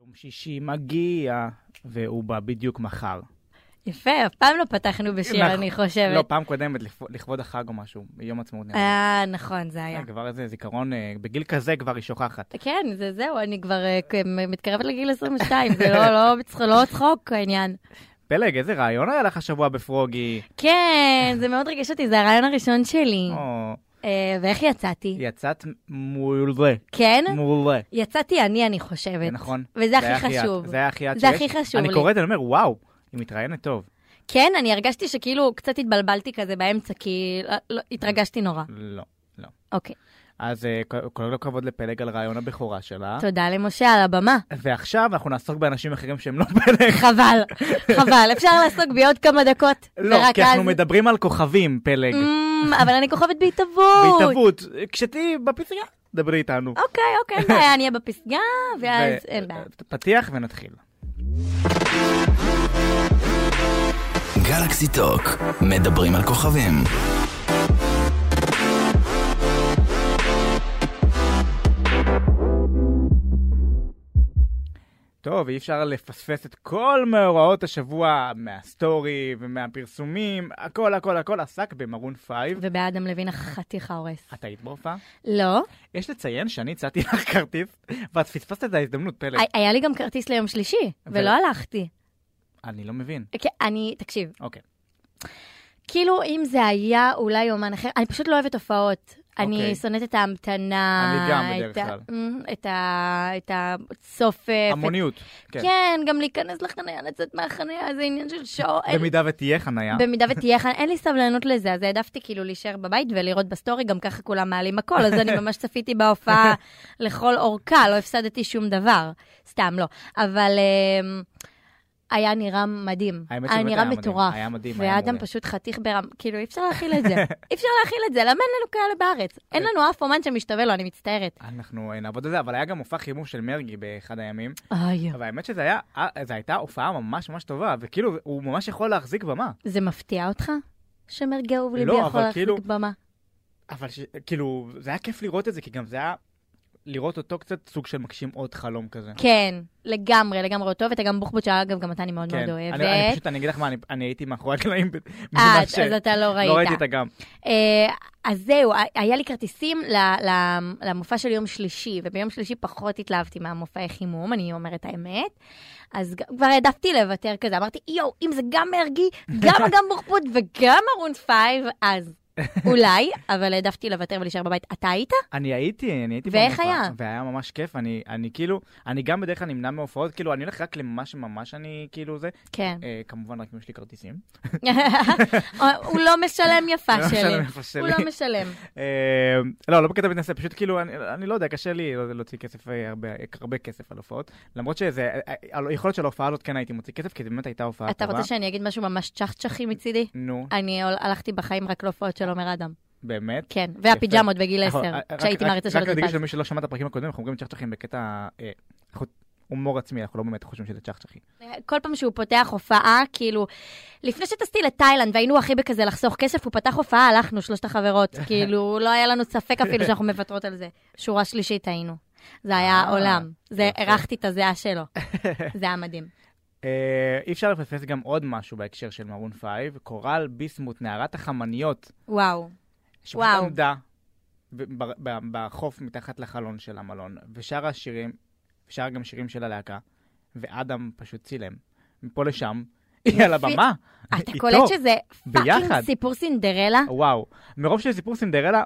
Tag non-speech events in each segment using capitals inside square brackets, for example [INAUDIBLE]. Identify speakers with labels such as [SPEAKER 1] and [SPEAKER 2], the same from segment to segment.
[SPEAKER 1] יום שישי מגיע, והוא בא בדיוק מחר.
[SPEAKER 2] יפה, אף פעם לא פתחנו בשיר,
[SPEAKER 1] נכ-
[SPEAKER 2] אני חושבת.
[SPEAKER 1] לא, פעם קודמת, לכבוד- לכבוד החג או משהו, ביום עצמאות. נראה לי.
[SPEAKER 2] אה, נכון, זה היה.
[SPEAKER 1] אה, כבר איזה זיכרון, אה, בגיל כזה כבר היא שוכחת.
[SPEAKER 2] כן, זה זהו, אני כבר אה, כ- מ- מתקרבת לגיל 22, זה לא- לא בצח- לא צחוק העניין.
[SPEAKER 1] פלג, איזה רעיון היה לך השבוע בפרוגי?
[SPEAKER 2] כן, זה מאוד ריגש אותי, זה הרעיון הראשון שלי.
[SPEAKER 1] או,
[SPEAKER 2] אה, ואיך יצאתי?
[SPEAKER 1] יצאת מעולה,
[SPEAKER 2] כן?
[SPEAKER 1] מעולה.
[SPEAKER 2] יצאתי אני, אני חושבת.
[SPEAKER 1] נכון.
[SPEAKER 2] וזה
[SPEAKER 1] היה
[SPEAKER 2] אה, הכי
[SPEAKER 1] את.
[SPEAKER 2] חשוב.
[SPEAKER 1] זה היה הכי את
[SPEAKER 2] זה
[SPEAKER 1] שיש.
[SPEAKER 2] הכי חשוב
[SPEAKER 1] אני
[SPEAKER 2] לי.
[SPEAKER 1] קורא את זה, אני אומר, וואו, היא מתראיינת טוב.
[SPEAKER 2] כן, אני הרגשתי שכאילו קצת התבלבלתי כזה באמצע, כי לא- לא- התרגשתי נורא.
[SPEAKER 1] לא, לא.
[SPEAKER 2] אוקיי.
[SPEAKER 1] אז אה, כל- כל הכבוד לפלג על רעיון הבכורה שלה.
[SPEAKER 2] תודה למשה על הבמה.
[SPEAKER 1] ועכשיו אנחנו נעסוק באנשים אחרים שהם לא פלג.
[SPEAKER 2] חבל, חבל. אפשר לעסוק בי עוד כמה דקות.
[SPEAKER 1] לא,
[SPEAKER 2] ורק
[SPEAKER 1] כי אנחנו
[SPEAKER 2] אז-
[SPEAKER 1] מדברים על כוכבים, פלג.
[SPEAKER 2] אמ, אבל אני כוכבת בהתהוות.
[SPEAKER 1] בהתהוות. אה, כשתהיי בפסגה, דברי איתנו.
[SPEAKER 2] אוקיי, אוקיי, אין בעיה, אני אהיה בפסגה, ואז
[SPEAKER 1] ו-
[SPEAKER 2] אה, אוקיי,
[SPEAKER 1] אה,
[SPEAKER 2] אין בעיה.
[SPEAKER 1] פתיח ונתחיל.
[SPEAKER 3] גלקסי טוק, מדברים על כוכבים.
[SPEAKER 1] טוב, אי אפשר לפספס את כל מאורעות השבוע מהסטורי ומהפרסומים, הכל הכל הכל עסק במרון פייב.
[SPEAKER 2] ובאדם לוין החתיכה הורס.
[SPEAKER 1] את היית בהופעה?
[SPEAKER 2] לא,
[SPEAKER 1] יש לציין שאני הצעתי לך כרטיס, ואת פספסת את ההזדמנות, פלג.
[SPEAKER 2] הי- היה לי גם כרטיס ליום שלישי,
[SPEAKER 1] לא. ו-
[SPEAKER 2] ולא הלכתי.
[SPEAKER 1] אני לא מבין.
[SPEAKER 2] כי אני, תקשיב,
[SPEAKER 1] אוקיי.
[SPEAKER 2] כאילו אם זה היה אולי יומן אחר, אני פשוט לא אוהבת הופעות. אני
[SPEAKER 1] אוקיי.
[SPEAKER 2] שונאת את ההמתנה.
[SPEAKER 1] אני גם בדרך
[SPEAKER 2] את ה-
[SPEAKER 1] כלל.
[SPEAKER 2] אמ, את ה- את הצופף. את-
[SPEAKER 1] המוניות. כן.
[SPEAKER 2] כן, גם להיכנס לחניה, לצאת מהחניה, זה עניין של שעות. אין-
[SPEAKER 1] במידה ותהיה חנייה.
[SPEAKER 2] במידה ותהיה חניה, אין לי סבלנות לזה, אז העדפתי כאילו להישאר בבית ולראות בסטורי, גם ככה כולם מעלים הכל, אז אני ממש צפיתי
[SPEAKER 1] [LAUGHS]
[SPEAKER 2] בהופעה לכל אורכה, לא הפסדתי שום דבר. סתם, לא. אבל אמ, היה נראה מדהים.
[SPEAKER 1] האמת
[SPEAKER 2] היה
[SPEAKER 1] שבאמת
[SPEAKER 2] נראה
[SPEAKER 1] היה מדהים,
[SPEAKER 2] מטורף.
[SPEAKER 1] היה מדהים, היה
[SPEAKER 2] ואדם
[SPEAKER 1] מעולה.
[SPEAKER 2] פשוט חתיך ברם, כאילו, אי אפשר להכיל
[SPEAKER 1] [LAUGHS]
[SPEAKER 2] את זה. אי אפשר להכיל את זה, למה אין לנו כאלה בארץ? אין לנו אף אומן שמשתווה לו, אני מצטערת.
[SPEAKER 1] אנחנו אה, נעבוד על זה, אבל היה גם מופע חימום של מרגי באחד הימים,
[SPEAKER 2] אוי,
[SPEAKER 1] אבל האמת שזה היה, אה, זו הייתה הופעה ממש ממש טובה, וכאילו, הוא ממש יכול להחזיק במה.
[SPEAKER 2] זה מפתיע אותך? שמרגי אהוב
[SPEAKER 1] לא,
[SPEAKER 2] ליבי יכול
[SPEAKER 1] אבל
[SPEAKER 2] להחזיק
[SPEAKER 1] כאילו-
[SPEAKER 2] במה.
[SPEAKER 1] אבל ש- כאילו, זה היה כיף לראות את זה, כי גם זה היה לראות אותו קצת סוג של מגשים עוד חלום כזה.
[SPEAKER 2] כן, לגמרי, לגמרי אותו, ואת גם בוחבוט, שאגב, גם אותה אני מאוד מאוד
[SPEAKER 1] כן. אני-
[SPEAKER 2] לא אוהבת.
[SPEAKER 1] אני פשוט, אני אגיד לך מה, אני- אני הייתי מאחורי הקלעים. ב-
[SPEAKER 2] אה,
[SPEAKER 1] ממש,
[SPEAKER 2] אז אז אתה לא ראית.
[SPEAKER 1] לא ראיתי את הגם.
[SPEAKER 2] אה, אז זהו, ה- היה לי כרטיסים ל- ל- למופע של יום שלישי, וביום שלישי פחות התלהבתי מהמופעי חימום, אני אומרת האמת. אז ג- כבר העדפתי לוותר כזה, אמרתי, יואו, אם זה גם מרגי,
[SPEAKER 1] [LAUGHS]
[SPEAKER 2] גם אגם בוחבוט וגם ארון פייב, אז אולי, אבל העדפתי לוותר ולהישאר בבית. אתה היית?
[SPEAKER 1] אני הייתי, אני הייתי
[SPEAKER 2] ואיך
[SPEAKER 1] במופע,
[SPEAKER 2] היה?
[SPEAKER 1] והיה ממש כיף, אני, אני כאילו, אני גם בדרך כלל נמנע מהופעות, כאילו, אני הולך רק למה שממש אני, כאילו זה, [LAUGHS]
[SPEAKER 2] כן.
[SPEAKER 1] אה, כמובן רק אם יש לי כרטיסים.
[SPEAKER 2] הוא לא משלם יפה
[SPEAKER 1] לא משלם
[SPEAKER 2] שלי.
[SPEAKER 1] איפה
[SPEAKER 2] הוא
[SPEAKER 1] שלי.
[SPEAKER 2] לא משלם.
[SPEAKER 1] אה, לא, לא בקטע מתנשא, פשוט כאילו, אני, אני לא יודע, קשה לי לא- להוציא כסף, אה, הרבה, הרבה כסף על הופעות, למרות שזה, אה, אה, היכולת של ההופעה הזאת כן הייתי מוציא כסף, כי זו באמת הייתה הופעה
[SPEAKER 2] אתה
[SPEAKER 1] טובה.
[SPEAKER 2] רוצה אה, שאני אגיד משהו ממש צ'חצ'חי מצידי?
[SPEAKER 1] נו,
[SPEAKER 2] אני הול- הלכתי בחיים רק להופעות של עומר אדם.
[SPEAKER 1] באמת.
[SPEAKER 2] כן, והפיג'מות בגיל
[SPEAKER 1] אנחנו-
[SPEAKER 2] 10,
[SPEAKER 1] אה, רק-
[SPEAKER 2] כשהייתי
[SPEAKER 1] רק-
[SPEAKER 2] מעריצה של
[SPEAKER 1] רק להדגיש
[SPEAKER 2] הדרפז.
[SPEAKER 1] למי שלא שמע את הפרקים הקודמים, אנחנו אומרים צ'חצ'חים בקטע אה, חוט- הומור עצמי, אנחנו לא באמת חושבים שזה צ'חצ'חי.
[SPEAKER 2] כל פעם שהוא פותח הופעה, כאילו, לפני שטסתי לתאילנד והיינו הכי בכזה לחסוך כסף, הוא פתח הופעה, הלכנו,
[SPEAKER 1] [LAUGHS]
[SPEAKER 2] שלושת החברות. כאילו, לא היה לנו ספק אפילו שאנחנו מוותרות על זה. שורה שלישית היינו. זה היה
[SPEAKER 1] אה,
[SPEAKER 2] עולם. זה,
[SPEAKER 1] יפה.
[SPEAKER 2] הרחתי את הזיעה
[SPEAKER 1] [LAUGHS]
[SPEAKER 2] שלו. זה היה מדהים.
[SPEAKER 1] אה, אי אפשר לפספס גם עוד משהו בהקשר של מרון פייב, קורל ביסמוט, נערת החמניות,
[SPEAKER 2] וואו.
[SPEAKER 1] שפשוט
[SPEAKER 2] וואו.
[SPEAKER 1] עמדה ב- ב- ב- בחוף מתחת לחלון של המלון, ושרה שירים, שרה גם שירים של הלהקה, ואדם פשוט צילם, מפה לשם, היא על הבמה,
[SPEAKER 2] אתה
[SPEAKER 1] איתו,
[SPEAKER 2] קולט שזה
[SPEAKER 1] ביחד.
[SPEAKER 2] פאקינג סיפור סינדרלה?
[SPEAKER 1] וואו. מרוב שזה סיפור סינדרלה,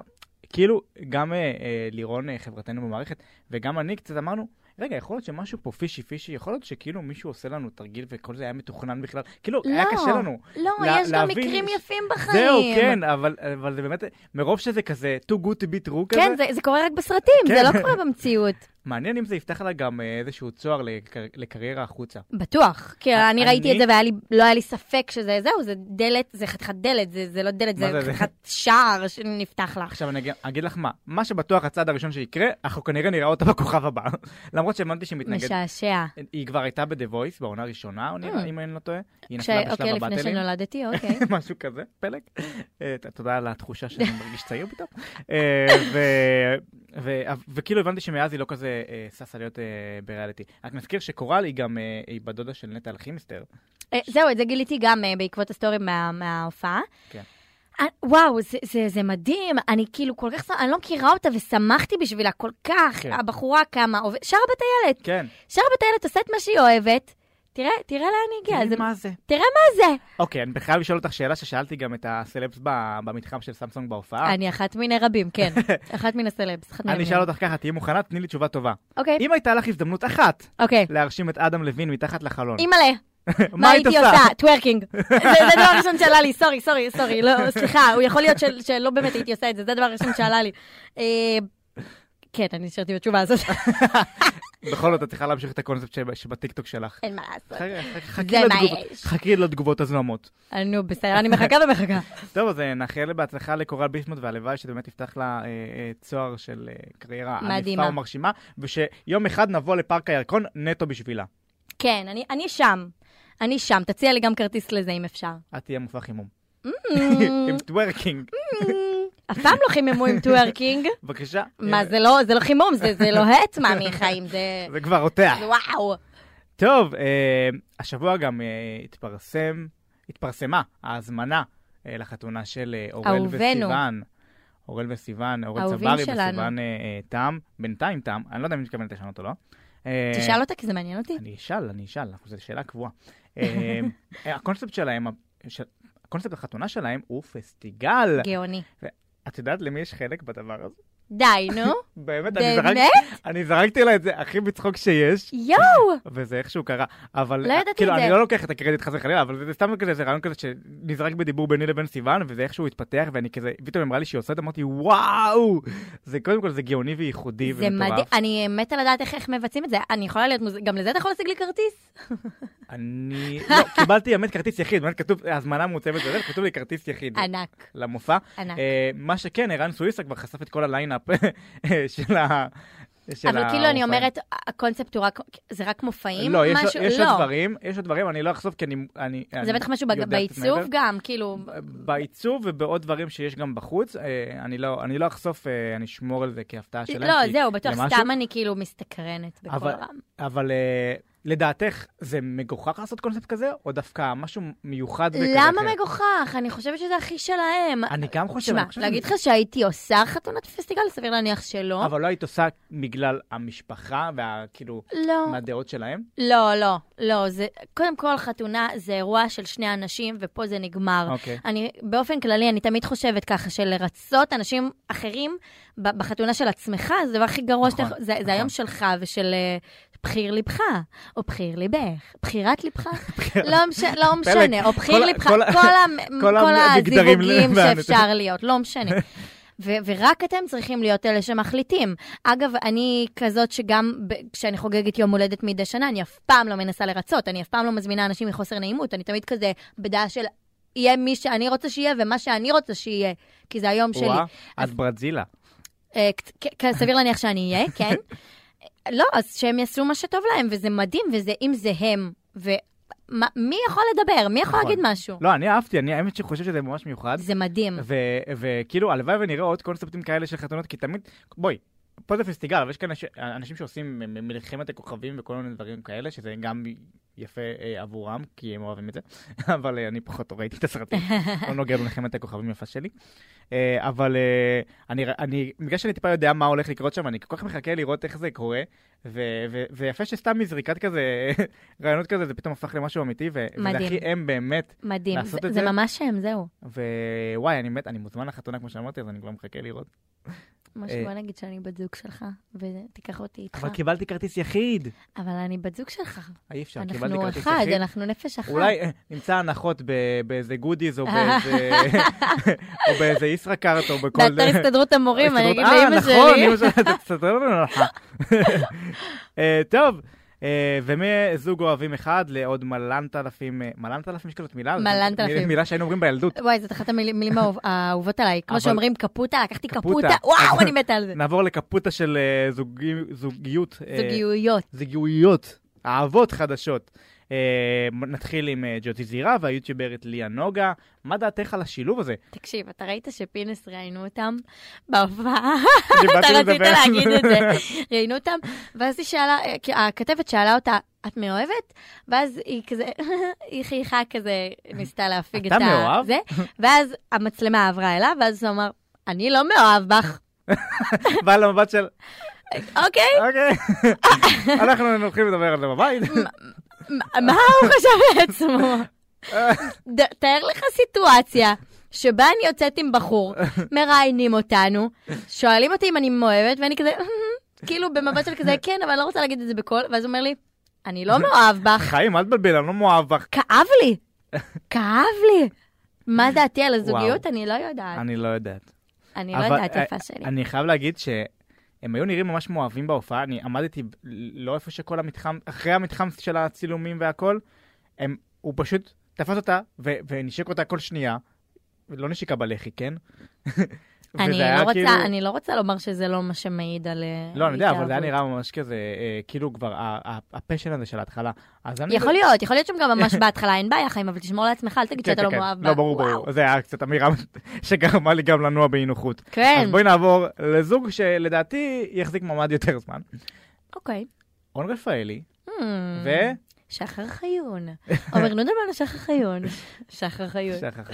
[SPEAKER 1] כאילו, גם אה, אה, לירון, אה, חברתנו במערכת, וגם אני קצת אמרנו, רגע, יכול להיות שמשהו פה פישי פישי, יכול להיות שכאילו מישהו עושה לנו תרגיל וכל זה היה מתוכנן בכלל, כאילו, היה
[SPEAKER 2] לא.
[SPEAKER 1] קשה לנו.
[SPEAKER 2] לא,
[SPEAKER 1] לה-
[SPEAKER 2] יש גם
[SPEAKER 1] להבין
[SPEAKER 2] מקרים
[SPEAKER 1] ש-
[SPEAKER 2] יפים בחיים.
[SPEAKER 1] זהו, כן, אבל, אבל זה באמת, מרוב שזה כזה too good to be true כזה,
[SPEAKER 2] כן, זה, זה קורה רק בסרטים, זה
[SPEAKER 1] כן.
[SPEAKER 2] לא קורה
[SPEAKER 1] [LAUGHS]
[SPEAKER 2] במציאות.
[SPEAKER 1] מעניין אם זה יפתח לה גם אה, איזשהו צוהר לקר... לקריירה החוצה.
[SPEAKER 2] בטוח, כי
[SPEAKER 1] א-
[SPEAKER 2] אני ראיתי את
[SPEAKER 1] אה, אני-
[SPEAKER 2] זה והיה לי, לא היה לי ספק שזה, זהו, זה דלת, זה חתיכת דלת, זה, זה לא דלת,
[SPEAKER 1] מה
[SPEAKER 2] זה
[SPEAKER 1] זה, זה?
[SPEAKER 2] חתיכת שער שנפתח לך.
[SPEAKER 1] עכשיו אני אגיד, אגיד לך מה, מה שבטוח הצעד הראשון שיקרה, אנחנו כנראה נראה אותה בכוכב הבא. [LAUGHS] למרות שהאמנתי שהיא מתנגדת.
[SPEAKER 2] משעשע.
[SPEAKER 1] היא כבר הייתה ב-The Voice בעונה הראשונה, או נראה,
[SPEAKER 2] Mm.
[SPEAKER 1] אם אני לא טועה. היא
[SPEAKER 2] כש-
[SPEAKER 1] נפלה
[SPEAKER 2] אוקיי,
[SPEAKER 1] בשלב
[SPEAKER 2] לפני
[SPEAKER 1] הבטלים,
[SPEAKER 2] שנולדתי, אוקיי.
[SPEAKER 1] [LAUGHS] משהו כזה, פלג. אה, ת- תודה על
[SPEAKER 2] [LAUGHS]
[SPEAKER 1] התחושה שאני מרגיש צעיר פתאום. אה, ו- ו- וכאילו הבנתי שמאז היא לא כזה אה, ששה להיות אה, בריאליטי. רק נזכיר שקורל היא גם, אה, היא בת דודה של נטע אלכימסטר.
[SPEAKER 2] אה, זהו, את זה גיליתי גם אה, בעקבות הסטורי מה- מההופעה.
[SPEAKER 1] כן.
[SPEAKER 2] אה, וואו, זה, זה, זה מדהים, אני כאילו כל כך, שמח- אני לא מכירה אותה ושמחתי בשבילה כל כך,
[SPEAKER 1] כן.
[SPEAKER 2] הבחורה קמה, עובד- שרה בטיילת,
[SPEAKER 1] כן.
[SPEAKER 2] שרה בטיילת עושה את מה שהיא אוהבת, תראה, תראה לאן היא הגיעה, זה-
[SPEAKER 1] מה זה?
[SPEAKER 2] תראה מה זה.
[SPEAKER 1] אוקיי, אני חייב לשאול אותך שאלה ששאלתי גם את הסלבס ב- במתחם של סמסונג בהופעה.
[SPEAKER 2] אני אחת מיני רבים,
[SPEAKER 1] [LAUGHS]
[SPEAKER 2] כן, אחת מן הסלבס, אחת
[SPEAKER 1] אה. אני
[SPEAKER 2] מיני
[SPEAKER 1] אשאל אותך ככה, תהיי מוכנה? תני לי תשובה טובה.
[SPEAKER 2] אוקיי,
[SPEAKER 1] אם נכון. הייתה לך הזדמנות אחת
[SPEAKER 2] אוקיי.
[SPEAKER 1] להרשים את אדם לוין מתחת לחלון,
[SPEAKER 2] אימא'לה, מה
[SPEAKER 1] היית
[SPEAKER 2] הייתי עושה? טוורקינג. זה זה הדבר הראשון שעלה לי, סורי, סורי, סורי, לא, סליחה, הוא יכול להיות של- שלא באמת הייתי עושה את זה, זה הדבר הראשון שעלה לי. אה, כן, אני נשארתי בתשובה הזאת, [LAUGHS]
[SPEAKER 1] בכל זאת, את צריכה להמשיך את הקונספט שב- שבטיקטוק שלך.
[SPEAKER 2] אין מה לעשות.
[SPEAKER 1] חכי- חכי
[SPEAKER 2] זה מה
[SPEAKER 1] לתגובות-
[SPEAKER 2] יש.
[SPEAKER 1] חכי לתגובות הזוהמות.
[SPEAKER 2] אה, נו, בסדר, אני מחכה ומחכה.
[SPEAKER 1] טוב, אז אה, נאחל בהצלחה לקורל ביסמוט, והלוואי שבאמת תפתח לה אה, אה, צוהר של אה, קריירה
[SPEAKER 2] מדהימה.
[SPEAKER 1] ענפה ומרשימה, ושיום אחד נבוא לפארק הירקון נטו בשבילה.
[SPEAKER 2] כן, אני- אני שם. אני שם, תציע לי גם כרטיס לזה אם אפשר.
[SPEAKER 1] את תהיה מופע
[SPEAKER 2] [LAUGHS]
[SPEAKER 1] חימום.
[SPEAKER 2] Mm,
[SPEAKER 1] עם טוורקינג.
[SPEAKER 2] אף פעם לא חיממו עם טוורקינג.
[SPEAKER 1] בבקשה.
[SPEAKER 2] מה,
[SPEAKER 1] הנה,
[SPEAKER 2] זה לא- זה לא חימום, זה זה לוהט
[SPEAKER 1] [LAUGHS]
[SPEAKER 2] מהמיכאים, זה...
[SPEAKER 1] זה כבר רותח.
[SPEAKER 2] וואו.
[SPEAKER 1] טוב, אה, השבוע גם אה, התפרסם, התפרסמה ההזמנה אה, לחתונה של אה, אורל
[SPEAKER 2] אהובנו.
[SPEAKER 1] וסיוון. אורל וסיוון, אורל
[SPEAKER 2] אהובים
[SPEAKER 1] צברי
[SPEAKER 2] שלנו.
[SPEAKER 1] וסיוון אה, אה, תם, בינתיים תם, אני לא יודע אם היא מתכוונת לשנות או לא. אה,
[SPEAKER 2] תשאל אותה, כי זה מעניין אותי.
[SPEAKER 1] אני אשאל, אני אשאל, אנחנו- זו שאלה קבועה.
[SPEAKER 2] [LAUGHS]
[SPEAKER 1] אה, הקונספט שלהם, ה- של- הקונספט החתונה שלהם הוא פסטיגל.
[SPEAKER 2] גאוני.
[SPEAKER 1] את יודעת למי יש חלק בדבר הזה?
[SPEAKER 2] די, נו.
[SPEAKER 1] באמת, אני זרקתי-
[SPEAKER 2] באמת?
[SPEAKER 1] אני זרקתי לה את זה הכי בצחוק שיש.
[SPEAKER 2] יואו!
[SPEAKER 1] וזה איכשהו קרה, אבל
[SPEAKER 2] לא ידעתי
[SPEAKER 1] כאילו,
[SPEAKER 2] את זה.
[SPEAKER 1] אני לא לוקח את הקרדיט חס וחלילה, אבל זה סתם כזה, זה רעיון כזה שנזרק בדיבור ביני לבין סיוון, וזה איכשהו התפתח, ואני כזה, פתאום אמרה לי שהיא עושה את זה, אמרתי, וואו! זה קודם כל, זה גאוני וייחודי
[SPEAKER 2] זה מדהים,
[SPEAKER 1] ומטורף.
[SPEAKER 2] אני מתה לדעת איך, איך מבצעים את זה. אני יכולה להיות מוז... גם לזה אתה יכול להשיג לי כרטיס?
[SPEAKER 1] אני, לא, [LAUGHS] קיבלתי באמת כרטיס יחיד, באמת כתוב, הזמנה מעוצבת וזה, כתוב לי כרטיס יחיד
[SPEAKER 2] ענק,
[SPEAKER 1] למופע.
[SPEAKER 2] ענק.
[SPEAKER 1] אה, מה שכן, ערן סוויסה כבר חשף את כל הליינאפ [LAUGHS] של ה... של
[SPEAKER 2] אבל כאילו
[SPEAKER 1] המופעים.
[SPEAKER 2] אני אומרת, הקונספט הוא רק, זה רק מופעים?
[SPEAKER 1] לא, יש-
[SPEAKER 2] משהו-
[SPEAKER 1] יש
[SPEAKER 2] לא.
[SPEAKER 1] עוד דברים, יש עוד דברים, אני לא אחשוף כי אני... אני-
[SPEAKER 2] זה
[SPEAKER 1] אני
[SPEAKER 2] בטח משהו
[SPEAKER 1] יודע
[SPEAKER 2] בג-
[SPEAKER 1] קצת
[SPEAKER 2] בעיצוב
[SPEAKER 1] מעבר.
[SPEAKER 2] גם, כאילו,
[SPEAKER 1] בעיצוב ובעוד דברים שיש גם בחוץ. אה, אני לא, אני לא אחשוף, אה, אני אשמור על זה כהפתעה שלהם.
[SPEAKER 2] לא,
[SPEAKER 1] כי
[SPEAKER 2] זהו, בטוח,
[SPEAKER 1] זה משהו-
[SPEAKER 2] סתם אני כאילו מסתקרנת בכל
[SPEAKER 1] אבל-
[SPEAKER 2] רם.
[SPEAKER 1] אבל אה, לדעתך, זה מגוחך לעשות קונספט כזה, או דווקא משהו מיוחד וכזה
[SPEAKER 2] למה
[SPEAKER 1] אחר?
[SPEAKER 2] מגוחך? אני חושבת שזה הכי שלהם.
[SPEAKER 1] אני גם חושב...
[SPEAKER 2] תשמע,
[SPEAKER 1] אני חושב
[SPEAKER 2] להגיד
[SPEAKER 1] שזה-
[SPEAKER 2] לך שהייתי עושה חתונת פסטיגל? סביר להניח שלא.
[SPEAKER 1] אבל לא היית עושה בגלל המשפחה, והכאילו,
[SPEAKER 2] לא.
[SPEAKER 1] מהדעות שלהם?
[SPEAKER 2] לא, לא, לא, זה, קודם כל חתונה זה אירוע של שני אנשים, ופה זה נגמר.
[SPEAKER 1] אוקיי.
[SPEAKER 2] אני, באופן כללי, אני תמיד חושבת ככה, שלרצות אנשים אחרים ב- בחתונה של עצמך, זה הדבר הכי גרוע
[SPEAKER 1] נכון,
[SPEAKER 2] שאתה יכול, זה, זה
[SPEAKER 1] נכון.
[SPEAKER 2] היום שלך ושל אה, בחיר ליבך, או בחיר ליבך, בחירת ליבך,
[SPEAKER 1] [LAUGHS]
[SPEAKER 2] לא, מש, לא משנה, או בחיר
[SPEAKER 1] כל ה-
[SPEAKER 2] ליבך,
[SPEAKER 1] כל
[SPEAKER 2] כל,
[SPEAKER 1] ה-
[SPEAKER 2] המ-
[SPEAKER 1] [LAUGHS] כל
[SPEAKER 2] כל
[SPEAKER 1] המגדרים
[SPEAKER 2] הזיווגים
[SPEAKER 1] והנתונים.
[SPEAKER 2] שאפשר להיות,
[SPEAKER 1] [LAUGHS]
[SPEAKER 2] לא משנה. ו- ורק אתם צריכים להיות אלה שמחליטים. אגב, אני כזאת שגם ב- כשאני חוגגת יום הולדת מדי שנה, אני אף פעם לא מנסה לרצות, אני אף פעם לא מזמינה אנשים מחוסר נעימות, אני תמיד כזה בדעה של יהיה מי שאני רוצה שיהיה ומה שאני רוצה שיהיה, כי זה היום שלי.
[SPEAKER 1] וואה, את ברזילה.
[SPEAKER 2] אה, קצ- כ- כ- סביר להניח שאני
[SPEAKER 1] [LAUGHS]
[SPEAKER 2] אהיה, כן. לא, אז שהם יעשו מה שטוב להם, וזה מדהים, וזה אם זה הם, ומי יכול לדבר? מי יכול
[SPEAKER 1] נכון.
[SPEAKER 2] להגיד משהו?
[SPEAKER 1] לא, אני אהבתי, אני האמת שחושב שזה ממש מיוחד.
[SPEAKER 2] זה מדהים.
[SPEAKER 1] ו- וכאילו, הלוואי ונראה עוד קונספטים כאלה של חתונות, כי תמיד, בואי, פה זה פסטיגל, אבל יש כאן אנש- אנשים שעושים מ- מ- מלחמת הכוכבים וכל מיני דברים כאלה, שזה גם יפה אה, עבורם, כי הם אוהבים את זה, [LAUGHS] אבל אה, אני פחות ראיתי את
[SPEAKER 2] [LAUGHS]
[SPEAKER 1] הסרטים, לא נוגע במלחמת הכוכבים יפה שלי. אה, אבל אה, אני, ר- אני, בגלל שאני טיפה יודע מה הולך לקרות שם, אני כל כך מחכה לראות איך זה קורה, ו- ו- ויפה שסתם מזריקת כזה, [LAUGHS] רעיונות כזה, זה פתאום הפך למשהו אמיתי, ו- וזה
[SPEAKER 2] מדהים.
[SPEAKER 1] הכי הם באמת.
[SPEAKER 2] מדהים.
[SPEAKER 1] לעשות
[SPEAKER 2] זה-
[SPEAKER 1] את
[SPEAKER 2] זה
[SPEAKER 1] זה?
[SPEAKER 2] ממש הם, זהו.
[SPEAKER 1] ווואי, אני מת, אני מוזמן לחתונה, כמו שאמרתי, אז אני כבר מחכה לראות.
[SPEAKER 2] משה, בוא נגיד שאני בת זוג שלך, ותיקח אותי איתך.
[SPEAKER 1] אה. אבל קיבלתי כרטיס יחיד.
[SPEAKER 2] אבל אני בת זוג שלך.
[SPEAKER 1] אי אפשר, קיבלתי
[SPEAKER 2] אנחנו
[SPEAKER 1] כרטיס
[SPEAKER 2] אחד,
[SPEAKER 1] יחיד.
[SPEAKER 2] אנחנו נפש אחת.
[SPEAKER 1] אולי אה, נמצא הנחות ב- באיזה
[SPEAKER 2] [LAUGHS]
[SPEAKER 1] גודיז או באיזה או באיזה ישראכרט או בכל...
[SPEAKER 2] באתר
[SPEAKER 1] [LAUGHS]
[SPEAKER 2] הסתדרות המורים, אני אגיד
[SPEAKER 1] אה,
[SPEAKER 2] לאמא
[SPEAKER 1] נכון,
[SPEAKER 2] שלי.
[SPEAKER 1] אמא שלי, אתה תסתדר לנו לך. [LAUGHS] אה, טוב, אה, ומזוג אוהבים אחד לעוד מלנת אלפים, אה, מלנת אלפים יש כזאת מילה?
[SPEAKER 2] מלנת אלפים.
[SPEAKER 1] מילה שהיינו אומרים
[SPEAKER 2] [LAUGHS]
[SPEAKER 1] בילדות.
[SPEAKER 2] וואי, זאת אחת המילים המילים האהוב- האהובות עליי. כמו
[SPEAKER 1] אבל-
[SPEAKER 2] שאומרים קפוטה, לקחתי
[SPEAKER 1] קפוטה.
[SPEAKER 2] קפוטה, וואו, אני מתה על זה.
[SPEAKER 1] נעבור לקפוטה של אה, זוגי- זוגיות. אה,
[SPEAKER 2] זוגיות.
[SPEAKER 1] זוגיות, אהבות חדשות. אה, נתחיל עם אה, ג'וטי זירה והיוטיוברית ליה נוגה. מה דעתך על השילוב הזה?
[SPEAKER 2] תקשיב, אתה ראית שפינס ראיינו אותם בהופעה?
[SPEAKER 1] אני
[SPEAKER 2] [LAUGHS] אתה
[SPEAKER 1] באתי
[SPEAKER 2] רצית
[SPEAKER 1] לדבר.
[SPEAKER 2] להגיד את זה. ראיינו אותם, ואז היא שאלה, אה, כי הכתבת שאלה אותה, את מאוהבת? ואז היא כזה, [LAUGHS] היא חייכה כזה, ניסתה להפיג את
[SPEAKER 1] "אתה
[SPEAKER 2] ה...
[SPEAKER 1] מאוהב?"
[SPEAKER 2] זה, ואז המצלמה עברה אליו, ואז הוא אמר, אני לא מאוהב בך.
[SPEAKER 1] [LAUGHS] בעל המבט של,
[SPEAKER 2] אוקיי, [LAUGHS]
[SPEAKER 1] אוקיי, אנחנו נתחיל לדבר על זה בבית.
[SPEAKER 2] מה- מה הוא חשב לעצמו? ד- תאר לך סיטואציה שבה אני יוצאת עם בחור, מראיינים אותנו, שואלים אותי אם אני מאוהבת, ואני כזה, כאילו במבט של כזה, כן, אבל אני לא רוצה להגיד את זה בקול, ואז הוא אומר לי, אני לא מאוהב בך.
[SPEAKER 1] חיים, אל תבלבל, אני לא מאוהב בך.
[SPEAKER 2] כאב לי, כאב לי. מה דעתי על הזוגיות?
[SPEAKER 1] וואו.
[SPEAKER 2] אני לא יודעת.
[SPEAKER 1] אני לא יודעת.
[SPEAKER 2] אני לא
[SPEAKER 1] אבל- אה,
[SPEAKER 2] יודעת יפה שלי.
[SPEAKER 1] אני חייב להגיד שהם היו נראים ממש מאוהבים בהופעה, אני עמדתי ב- לא איפה שכל המתחם, אחרי המתחם של הצילומים והכל, הם, הוא פשוט תפס אותה ו- ונשק אותה כל שנייה, לא נשיקה בלחי, כן?
[SPEAKER 2] [LAUGHS] אני
[SPEAKER 1] וזה היה
[SPEAKER 2] לא
[SPEAKER 1] כאילו-
[SPEAKER 2] רוצה- אני לא רוצה לומר שזה לא מה שמעיד על אה,
[SPEAKER 1] לא, אני יודע, אבל זה היה
[SPEAKER 2] התאהבות.
[SPEAKER 1] נראה ממש כזה, אה, כאילו כבר ה- ה- הפשן הזה של ההתחלה. אז אני... לא-
[SPEAKER 2] יכול להיות, יכול להיות שם גם
[SPEAKER 1] [LAUGHS]
[SPEAKER 2] ממש בהתחלה אין בעיה, חיים, אבל תשמור לעצמך, אל תגיד
[SPEAKER 1] כן,
[SPEAKER 2] שאתה
[SPEAKER 1] כן,
[SPEAKER 2] לא
[SPEAKER 1] כן.
[SPEAKER 2] מאוהב בה.
[SPEAKER 1] לא, ברור,
[SPEAKER 2] וואו.
[SPEAKER 1] ברור. זה היה קצת אמירה [LAUGHS] שגרמה לי גם לנוע באי נוחות.
[SPEAKER 2] כן,
[SPEAKER 1] אז בואי נעבור לזוג שלדעתי יחזיק מעמד יותר זמן.
[SPEAKER 2] אוקיי.
[SPEAKER 1] און רפאלי,
[SPEAKER 2] Hmm.
[SPEAKER 1] ו...
[SPEAKER 2] שחר חיון. עומר נודלמן או שחר
[SPEAKER 1] [LAUGHS]
[SPEAKER 2] חיון? שחר חיון.
[SPEAKER 1] שייך אחר.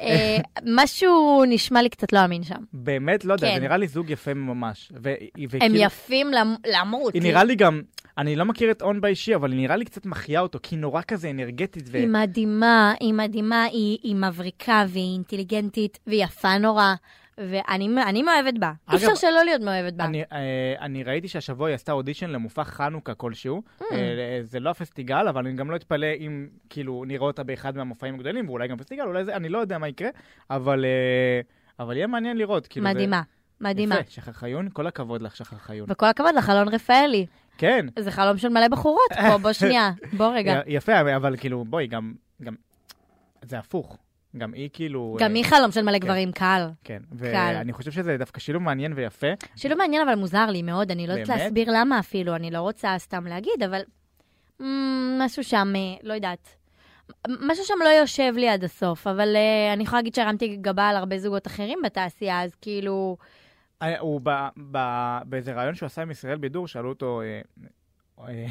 [SPEAKER 2] אה, משהו נשמע לי קצת לא אמין שם.
[SPEAKER 1] באמת, לא יודע,
[SPEAKER 2] כן.
[SPEAKER 1] זה נראה לי זוג יפה ממש. ו- היא-
[SPEAKER 2] הם
[SPEAKER 1] וכאילו-
[SPEAKER 2] יפים למ- למות.
[SPEAKER 1] אה, כאילו- היא נראה לי גם, אני לא מכיר את און באישי, אבל היא נראה לי קצת מחיה אותו, כי היא נורא כזה אנרגטית, ו...
[SPEAKER 2] היא מדהימה, היא מדהימה, היא היא מבריקה והיא אינטליגנטית והיא יפה נורא, ואני אני מאוהבת בה.
[SPEAKER 1] אגב,
[SPEAKER 2] אי אפשר שלא להיות מאוהבת בה.
[SPEAKER 1] אני, אה, אני ראיתי שהשבוע היא עשתה אודישן למופע חנוכה כלשהו.
[SPEAKER 2] Mm.
[SPEAKER 1] אה, זה לא הפסטיגל, אבל אני גם לא אתפלא אם כאילו נראה אותה באחד מהמופעים הגדולים, ואולי גם פסטיגל, אולי זה, אני לא יודע מה יקרה, אבל, אה, אבל יהיה מעניין לראות. כאילו, זה-
[SPEAKER 2] מדהימה, מדהימה.
[SPEAKER 1] יפה, שחר חיון, כל הכבוד לך, שחר חיון.
[SPEAKER 2] וכל הכבוד לחלון רפאלי.
[SPEAKER 1] כן,
[SPEAKER 2] זה חלום של מלא בחורות פה, בוא שנייה.
[SPEAKER 1] [LAUGHS]
[SPEAKER 2] בוא רגע.
[SPEAKER 1] י- יפה, אבל כאילו, בואי, גם, גם, זה הפוך. גם היא כאילו...
[SPEAKER 2] גם
[SPEAKER 1] אה,
[SPEAKER 2] היא חלום של מלא גברים, קל.
[SPEAKER 1] כן,
[SPEAKER 2] קל.
[SPEAKER 1] ואני חושב שזה דווקא שילוב מעניין ויפה.
[SPEAKER 2] שלא מעניין, אבל מוזר לי מאוד, אני לא יודעת
[SPEAKER 1] באמת?
[SPEAKER 2] להסביר למה אפילו, אני לא רוצה סתם להגיד, אבל mm, משהו שם, אה, לא יודעת. מ- משהו שם לא יושב לי עד הסוף, אבל אה, אני יכולה להגיד שהרמתי גבה על הרבה זוגות אחרים בתעשייה, אז כאילו,
[SPEAKER 1] אה, הוא ב, ב, באיזה ראיון שהוא עשה עם ישראל בידור, שאלו אותו, אה, אה,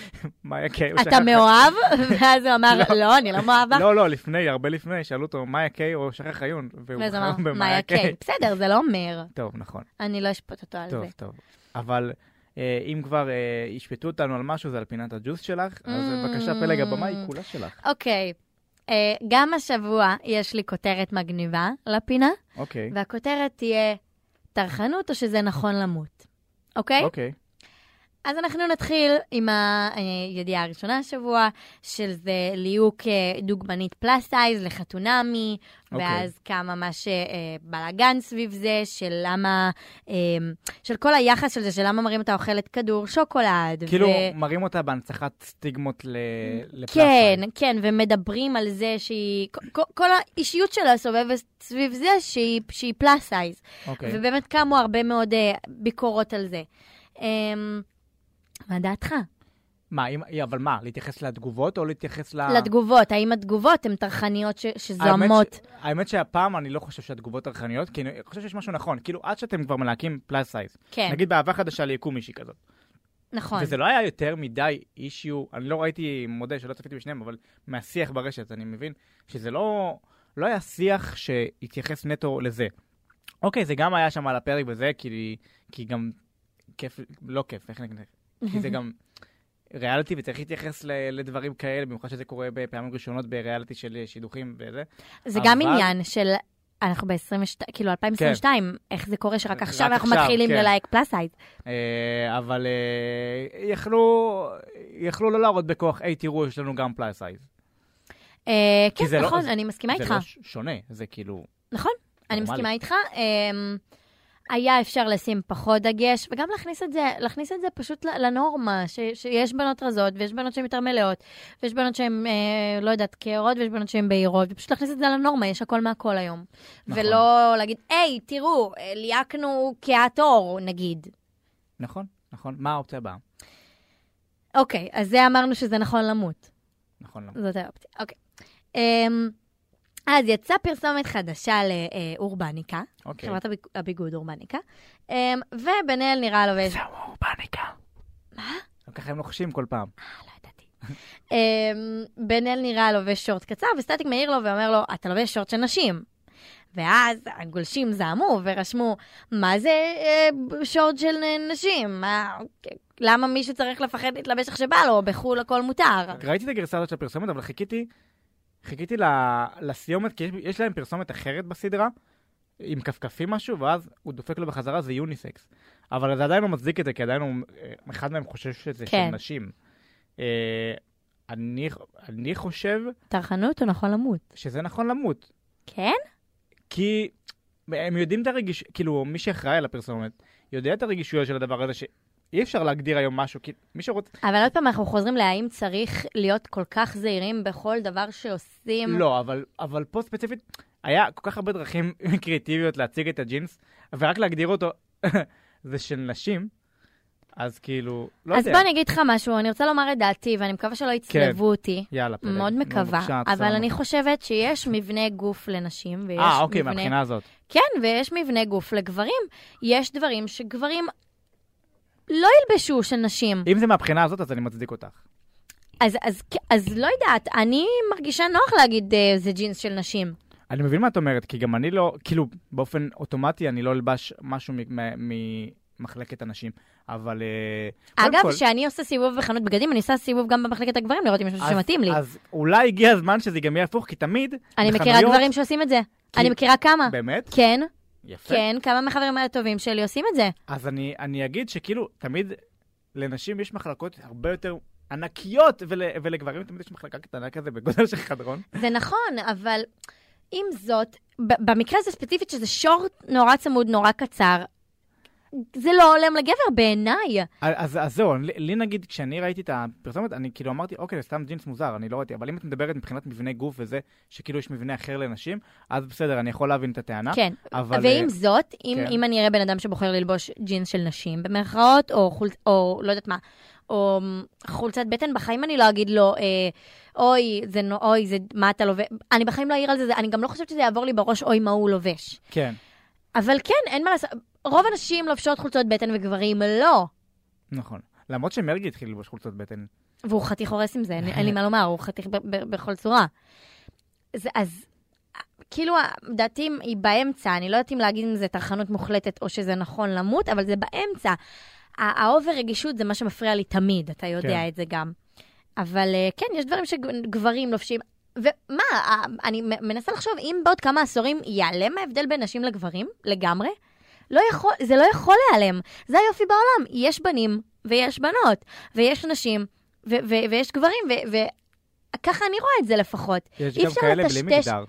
[SPEAKER 1] [LAUGHS] מה היה קיי?
[SPEAKER 2] אתה
[SPEAKER 1] [LAUGHS]
[SPEAKER 2] מאוהב? [LAUGHS] ואז הוא אמר, לא, אני לא מאוהב.
[SPEAKER 1] לא, לא, לפני, הרבה לפני, שאלו אותו, מאיה קיי או שחר חיון? והוא
[SPEAKER 2] ואז הוא אמר,
[SPEAKER 1] בחר במאיה
[SPEAKER 2] מאיה קיי. בסדר, זה לא אומר.
[SPEAKER 1] טוב, נכון,
[SPEAKER 2] אני לא אשפוט אותו על
[SPEAKER 1] טוב,
[SPEAKER 2] זה.
[SPEAKER 1] טוב. אבל אה, אם כבר אה, ישפטו אותנו על משהו, זה על פינת הג'וס שלך, אז
[SPEAKER 2] Mm.
[SPEAKER 1] בבקשה, פלג הבמה היא כולה שלך.
[SPEAKER 2] אוקיי, אה, גם השבוע יש לי כותרת מגניבה לפינה,
[SPEAKER 1] אוקיי,
[SPEAKER 2] והכותרת תהיה טרחנות או שזה נכון למות, אוקיי?
[SPEAKER 1] אוקיי.
[SPEAKER 2] אז אנחנו נתחיל עם הידיעה הראשונה השבוע, של זה ליהוק אה, דוגמנית פלאס סייז לחתונמי,
[SPEAKER 1] אוקיי.
[SPEAKER 2] ואז קם ממש אה, בלאגן סביב זה, של למה, אה, של כל היחס של זה, של למה מראים אותה אוכלת כדור שוקולד.
[SPEAKER 1] כאילו,
[SPEAKER 2] ו-
[SPEAKER 1] מרים אותה בהנצחת סטיגמות ל...
[SPEAKER 2] כן,
[SPEAKER 1] לפלאפיים.
[SPEAKER 2] כן, ומדברים על זה שהיא, כל, כל האישיות שלה סובבת סביב זה שהיא, שהיא פלאס סייז.
[SPEAKER 1] אוקיי.
[SPEAKER 2] ובאמת קמו הרבה מאוד אה, ביקורות על זה. אה, מה דעתך?
[SPEAKER 1] מה, אם- אבל מה, להתייחס לתגובות או להתייחס ל...
[SPEAKER 2] לתגובות, האם התגובות הן טרחניות ש- שזוהמות?
[SPEAKER 1] אה. האמת, ש- האמת שהפעם אני לא חושב שהתגובות טרחניות, כי אני חושב שיש משהו נכון. כאילו, עד שאתם כבר מלהקים פלאס סייז.
[SPEAKER 2] כן,
[SPEAKER 1] נגיד באהבה חדשה ליקום מישהי כזאת.
[SPEAKER 2] נכון.
[SPEAKER 1] וזה לא היה יותר מדי אישיו, אני לא ראיתי, מודה שלא צפיתי בשניהם, אבל מהשיח ברשת, אני מבין שזה לא, לא היה שיח שהתייחס נטו לזה. אוקיי, זה גם היה שם על הפרק וזה, כי, כי גם כיף, לא כיף, איך נגיד, כי זה גם ריאליטי וצריך להתייחס ל, לדברים כאלה, במיוחד שזה קורה בפעמים ראשונות בריאליטי של שידוכים וזה.
[SPEAKER 2] [LAUGHS] זה גם
[SPEAKER 1] אבל-
[SPEAKER 2] עניין של... אנחנו ב-22, כאילו 2022, איך זה קורה שרק
[SPEAKER 1] כן. רק
[SPEAKER 2] עכשיו אנחנו
[SPEAKER 1] עכשיו,
[SPEAKER 2] מתחילים
[SPEAKER 1] כן.
[SPEAKER 2] ללייק פלאס סייד.
[SPEAKER 1] אה, אבל אה, יכלו, יכלו לא להראות בכוח, היי, תראו, יש לנו גם פלאס סייז.
[SPEAKER 2] אה,
[SPEAKER 1] כי זה
[SPEAKER 2] כן,
[SPEAKER 1] לא-
[SPEAKER 2] נכון,
[SPEAKER 1] זה-
[SPEAKER 2] אני מסכימה
[SPEAKER 1] זה
[SPEAKER 2] איתך.
[SPEAKER 1] לא ש- שונה, זה כאילו...
[SPEAKER 2] נכון, אני
[SPEAKER 1] נורמלי.
[SPEAKER 2] מסכימה איתך. אמ, היה אפשר לשים פחות דגש, וגם להכניס את זה, להכניס את זה פשוט ל- לנורמה, ש, שיש בנות רזות, ויש בנות שהן יותר מלאות, ויש בנות שהן, אה, לא יודעת, כהרות, ויש בנות שהן בהירות, ופשוט להכניס את זה לנורמה, יש הכל מהכל היום.
[SPEAKER 1] נכון.
[SPEAKER 2] ולא להגיד, היי, תראו, אה, ליהקנו כהת עור, נגיד.
[SPEAKER 1] נכון, נכון. מה האופציה הבאה?
[SPEAKER 2] אוקיי, אז זה אמרנו שזה נכון למות.
[SPEAKER 1] נכון, למה?
[SPEAKER 2] זאת האופציה, אוקיי. אמ, אז יצאה פרסומת חדשה אה, לאורבניקה,
[SPEAKER 1] אוקיי.
[SPEAKER 2] חברת הביג- הביגוד אורבניקה, אמ, ובן אל נראה לובש...
[SPEAKER 1] זהו,
[SPEAKER 2] אה,
[SPEAKER 1] אורבניקה.
[SPEAKER 2] מה?
[SPEAKER 1] ככה הם לוחשים כל פעם.
[SPEAKER 2] לא ידעתי. אמ, בן אל נראה לובש שורט קצר, וסטטיק מעיר לו ואומר לו, אתה לובש שורט של נשים. ואז הגולשים זעמו ורשמו, מה זה אה, ב- שורט של אה, נשים? מה, אוקיי, למה מישהו צריך לפחד להתלבש איך שבא לו? בחו"ל הכל מותר.
[SPEAKER 1] ראיתי את הגרסה הזאת של הפרסומת, אבל חיכיתי, חיכיתי ל- לסיומת, כי יש- יש להם פרסומת אחרת בסדרה, עם כפכפים משהו, ואז הוא דופק לו בחזרה, זה יוניסקס. אבל זה עדיין לא מצדיק את זה, כי עדיין הוא, אה, אחד מהם חושב שזה
[SPEAKER 2] כן.
[SPEAKER 1] של נשים. אה, אני, אני חושב
[SPEAKER 2] טרחנות הוא נכון למות.
[SPEAKER 1] שזה נכון למות.
[SPEAKER 2] כן?
[SPEAKER 1] כי הם יודעים את הרגיש... כאילו, מי שאחראי על הפרסומת, יודע את הרגישויות של הדבר הזה, שאי אפשר להגדיר היום משהו, כי מי שרוצה...
[SPEAKER 2] אבל עוד פעם, אנחנו חוזרים להאם צריך להיות כל כך זהירים בכל דבר שעושים.
[SPEAKER 1] לא, אבל, אבל פה ספציפית, היה כל כך הרבה דרכים [LAUGHS] קריאטיביות להציג את הג'ינס, ורק להגדיר אותו, [LAUGHS] זה של נשים, אז כאילו, לא
[SPEAKER 2] אז
[SPEAKER 1] יודע. כן.
[SPEAKER 2] בוא אני אגיד לך משהו, אני רוצה לומר את דעתי, ואני מקווה שלא יצלבו אותי.
[SPEAKER 1] יאללה, פלג.
[SPEAKER 2] מאוד
[SPEAKER 1] נו,
[SPEAKER 2] מקווה,
[SPEAKER 1] בבקשה,
[SPEAKER 2] אבל
[SPEAKER 1] עצרנו.
[SPEAKER 2] אני חושבת שיש מבנה גוף לנשים, ויש
[SPEAKER 1] אה, אוקיי,
[SPEAKER 2] מבנה...
[SPEAKER 1] מהבחינה הזאת.
[SPEAKER 2] כן, ויש מבנה גוף לגברים. יש דברים שגברים לא ילבשו של נשים.
[SPEAKER 1] אם זה מהבחינה הזאת, אז אני מצדיק אותך.
[SPEAKER 2] אז, אז, אז לא יודעת, אני מרגישה נוח להגיד אה, זה ג'ינס של נשים.
[SPEAKER 1] אני מבין מה את אומרת, כי גם אני לא, כאילו, באופן אוטומטי אני לא אלבש משהו מ- מ- ממחלקת הנשים, אבל... אה, קודם
[SPEAKER 2] אגב,
[SPEAKER 1] כל-
[SPEAKER 2] כשאני עושה סיבוב בחנות בגדים, אני עושה סיבוב גם במחלקת הגברים, לראות אם יש משהו
[SPEAKER 1] אז-
[SPEAKER 2] שמתאים לי.
[SPEAKER 1] אז אולי הגיע הזמן שזה גם יהיה הפוך, כי תמיד...
[SPEAKER 2] אני מכירה
[SPEAKER 1] בחנויות-
[SPEAKER 2] גברים שעושים את זה.
[SPEAKER 1] כי-
[SPEAKER 2] אני מכירה כמה.
[SPEAKER 1] באמת?
[SPEAKER 2] כן,
[SPEAKER 1] יפה.
[SPEAKER 2] כן, כמה מהחברים הטובים שלי עושים את זה.
[SPEAKER 1] אז אני, אני אגיד שכאילו, תמיד לנשים יש מחלקות הרבה יותר ענקיות, ול, ולגברים תמיד יש מחלקה קטנה כזה בגודל של
[SPEAKER 2] [LAUGHS]
[SPEAKER 1] חדרון.
[SPEAKER 2] זה נכון, אבל עם זאת, ב- במקרה הזה ספציפית, שזה שורט נורא צמוד, נורא קצר, זה לא הולם לגבר בעיניי.
[SPEAKER 1] אז, אז זהו, לי, לי נגיד, כשאני ראיתי את הפרסומת, אני כאילו אמרתי, אוקיי, זה סתם ג'ינס מוזר, אני לא ראיתי, אבל אם את מדברת מבחינת מבנה גוף וזה, שכאילו יש מבנה אחר לנשים, אז בסדר, אני יכול להבין את הטענה.
[SPEAKER 2] כן.
[SPEAKER 1] אבל...
[SPEAKER 2] ועם
[SPEAKER 1] אה,
[SPEAKER 2] זאת, אם,
[SPEAKER 1] כן.
[SPEAKER 2] אם אני אראה בן אדם שבוחר ללבוש ג'ינס של נשים, במרכאות, או, חול, או לא יודעת מה, או מ, חולצת בטן, בחיים אני לא אגיד לו, אה, אוי, זה, נו- אוי, זה, מה אתה לובש? אני בחיים לא אעיר על זה, זה, אני גם לא חושבת שזה יעבור לי בראש, אוי, מה הוא לובש.
[SPEAKER 1] כן,
[SPEAKER 2] אבל כן, אין מה לעשות, רוב הנשים לובשות חולצות בטן וגברים לא.
[SPEAKER 1] נכון. למרות שמרגי התחיל ללבוש חולצות בטן.
[SPEAKER 2] והוא חתיך הורס עם זה, אין, אין לי מה לומר, הוא חתיך ב- ב- בכל צורה. אז, אז כאילו, דעתי היא באמצע, אני לא יודעת אם להגיד אם זה טרחנות מוחלטת או שזה נכון למות, אבל זה באמצע. ה- האובר רגישות זה מה שמפריע לי תמיד, אתה יודע
[SPEAKER 1] כן.
[SPEAKER 2] כן. את זה גם. אבל אה, כן, יש דברים שגברים לובשים. ומה, ה- אני מ- מנסה לחשוב, אם בעוד כמה עשורים ייעלם ההבדל בין נשים לגברים לגמרי, לא יכול, זה לא יכול להיעלם. זה היופי בעולם. יש בנים ויש בנות, ויש נשים ו- ו- ויש גברים, ו- וככה אני רואה את זה לפחות.
[SPEAKER 1] יש
[SPEAKER 2] אי
[SPEAKER 1] גם
[SPEAKER 2] אפשר
[SPEAKER 1] כאלה בלי
[SPEAKER 2] לטשטש-
[SPEAKER 1] מגדר.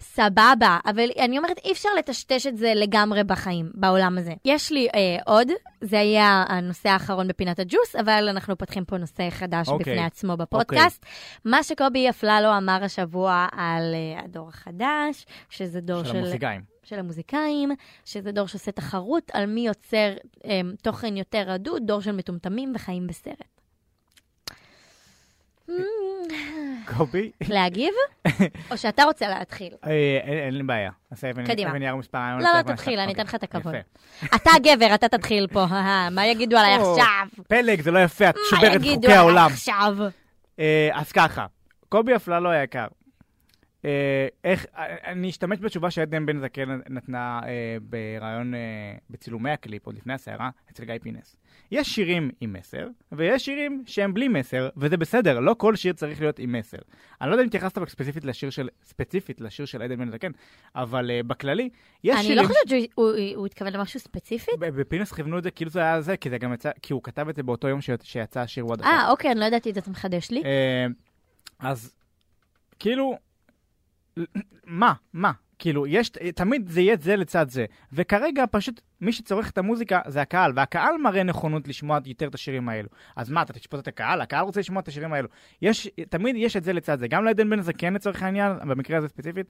[SPEAKER 2] סבבה, אבל אני אומרת, אי אפשר לטשטש את זה לגמרי בחיים, בעולם הזה. יש לי אה, עוד, זה היה הנושא האחרון בפינת הג'וס, אבל אנחנו פותחים פה נושא חדש
[SPEAKER 1] אוקיי.
[SPEAKER 2] בפני עצמו בפודקאסט. מה שקובי אפללו אמר השבוע על אה, הדור החדש, שזה דור
[SPEAKER 1] של
[SPEAKER 2] של
[SPEAKER 1] המוזיקאים.
[SPEAKER 2] של המוזיקאים, שזה דור שעושה תחרות על מי יוצר הם, תוכן יותר רדוד, דור של מטומטמים וחיים בסרט.
[SPEAKER 1] אה,
[SPEAKER 2] Hmm, [LAUGHS]
[SPEAKER 1] קובי, [LAUGHS]
[SPEAKER 2] להגיב? או שאתה רוצה להתחיל?
[SPEAKER 1] אה, אין אין לי בעיה. אז אני-
[SPEAKER 2] קדימה.
[SPEAKER 1] אני אראה מספר רעיון.
[SPEAKER 2] לא, לא,
[SPEAKER 1] לטלפון
[SPEAKER 2] תתחיל,
[SPEAKER 1] עכשיו.
[SPEAKER 2] אני אתן לך את
[SPEAKER 1] אוקיי,
[SPEAKER 2] הכבוד.
[SPEAKER 1] יפה.
[SPEAKER 2] אתה הגבר, אתה תתחיל פה, אהה, מה יגידו עליי
[SPEAKER 1] או,
[SPEAKER 2] עכשיו?
[SPEAKER 1] פלג, זה לא יפה, את
[SPEAKER 2] מה
[SPEAKER 1] שוברת
[SPEAKER 2] אה, יגידו
[SPEAKER 1] חוקי
[SPEAKER 2] עליי
[SPEAKER 1] העולם.
[SPEAKER 2] עכשיו?
[SPEAKER 1] אה, אז ככה, קובי אפללו היקר. אה, איך, אני אשתמש בתשובה שעדן בן זקן נתנה אה, בריאיון, אה, בצילומי הקליפ, עוד לפני הסערה, אצל גיא פינס. יש שירים עם מסר, ויש שירים שהם בלי מסר, וזה בסדר, לא כל שיר צריך להיות עם מסר. אני לא יודע אם התייחסת רק ספציפית לשיר של, ספציפית לשיר של עדן בן זקן, אבל אה, בכללי, יש
[SPEAKER 2] אני
[SPEAKER 1] שירים...
[SPEAKER 2] לא חושבת שהוא הוא- הוא התכוון למשהו ספציפי.
[SPEAKER 1] ב- בפינס כיוונו את זה כאילו זה היה זה, כי זה גם יצא, כי הוא כתב את זה באותו יום שיצא- שיצא השיר וואד אחר.
[SPEAKER 2] אה, אוקיי, אני לא ידעתי את זה, אתה מחדש לי.
[SPEAKER 1] אה, אז כאילו, מה, מה? כאילו, יש, תמיד זה יהיה זה לצד זה. וכרגע פשוט מי שצורך את המוזיקה זה הקהל, והקהל מראה נכונות לשמוע יותר את השירים האלו. אז מה, אתה תשפוט את הקהל? הקהל רוצה לשמוע את השירים האלו. יש, תמיד יש את זה לצד זה. גם לעדן בן זקן לצורך העניין, במקרה הזה ספציפית,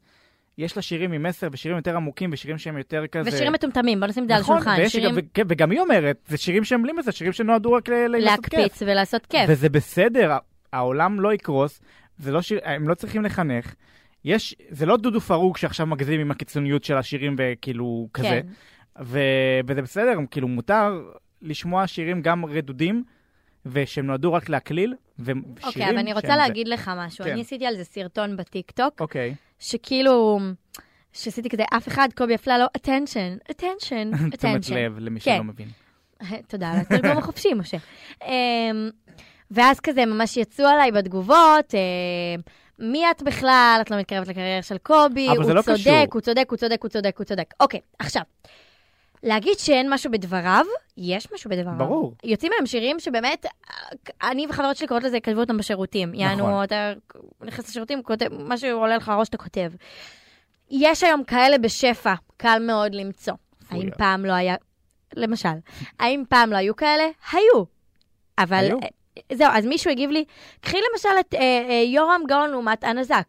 [SPEAKER 1] יש לה שירים עם מסר ושירים יותר עמוקים ושירים שהם יותר כזה...
[SPEAKER 2] ושירים מטומטמים, בוא נשים את זה על
[SPEAKER 1] אה, נכון,
[SPEAKER 2] השולחן.
[SPEAKER 1] ויש
[SPEAKER 2] שירים
[SPEAKER 1] גם- וכן, וגם היא אומרת, זה שירים שהם בלי מסר, שירים שנועדו רק ל- לעשות לא כיף.
[SPEAKER 2] להקפיץ ולעשות כיף.
[SPEAKER 1] וזה בסדר, העולם לא יקרוס, זה לא שיר, הם לא צריכים לחנך. יש, זה לא דודו פרוק שעכשיו מגזים עם הקיצוניות של השירים וכאילו כזה.
[SPEAKER 2] כן.
[SPEAKER 1] ו... וזה בסדר, כאילו מותר לשמוע שירים גם רדודים, ושהם נועדו רק להקליל, ושירים
[SPEAKER 2] אוקיי, אבל אני רוצה
[SPEAKER 1] שהם זה.
[SPEAKER 2] להגיד לך משהו.
[SPEAKER 1] כן.
[SPEAKER 2] אני עשיתי על זה סרטון בטיקטוק, [LAUGHS]
[SPEAKER 1] אוקיי, [LAUGHS]
[SPEAKER 2] שכאילו, שעשיתי כזה, אף אחד, קובי אפללו, attention,
[SPEAKER 1] [LAUGHS]
[SPEAKER 2] attention,
[SPEAKER 1] תשומת
[SPEAKER 2] attention.
[SPEAKER 1] לב למי
[SPEAKER 2] כן.
[SPEAKER 1] שלא מבין.
[SPEAKER 2] [LAUGHS] תודה על התרגום החופשי, משה. אמ, ואז כזה ממש יצאו עליי בתגובות, אמ, מי את בכלל? את לא מתקרבת לקריירה של קובי,
[SPEAKER 1] אבל
[SPEAKER 2] הוא
[SPEAKER 1] זה לא
[SPEAKER 2] צודק,
[SPEAKER 1] קשור.
[SPEAKER 2] הוא צודק, הוא צודק, הוא צודק, הוא צודק. אוקיי, עכשיו, להגיד שאין משהו בדבריו, יש משהו בדבריו.
[SPEAKER 1] ברור.
[SPEAKER 2] יוצאים מהם שירים שבאמת, אה, אני וחברות שלי קוראות לזה, כתבו אותם בשירותים.
[SPEAKER 1] נכון.
[SPEAKER 2] יענו, אתה נכנס לשירותים, כותב, מה שעולה לך לראש אתה כותב. יש היום כאלה בשפע, קל מאוד למצוא.
[SPEAKER 1] פויה.
[SPEAKER 2] האם פעם לא היה, למשל, האם פעם לא היו כאלה? היו. אבל
[SPEAKER 1] היו.
[SPEAKER 2] אה, זהו, אז מישהו הגיב לי, קחי למשל את אה, אה, יורם גאון לעומת הנזק.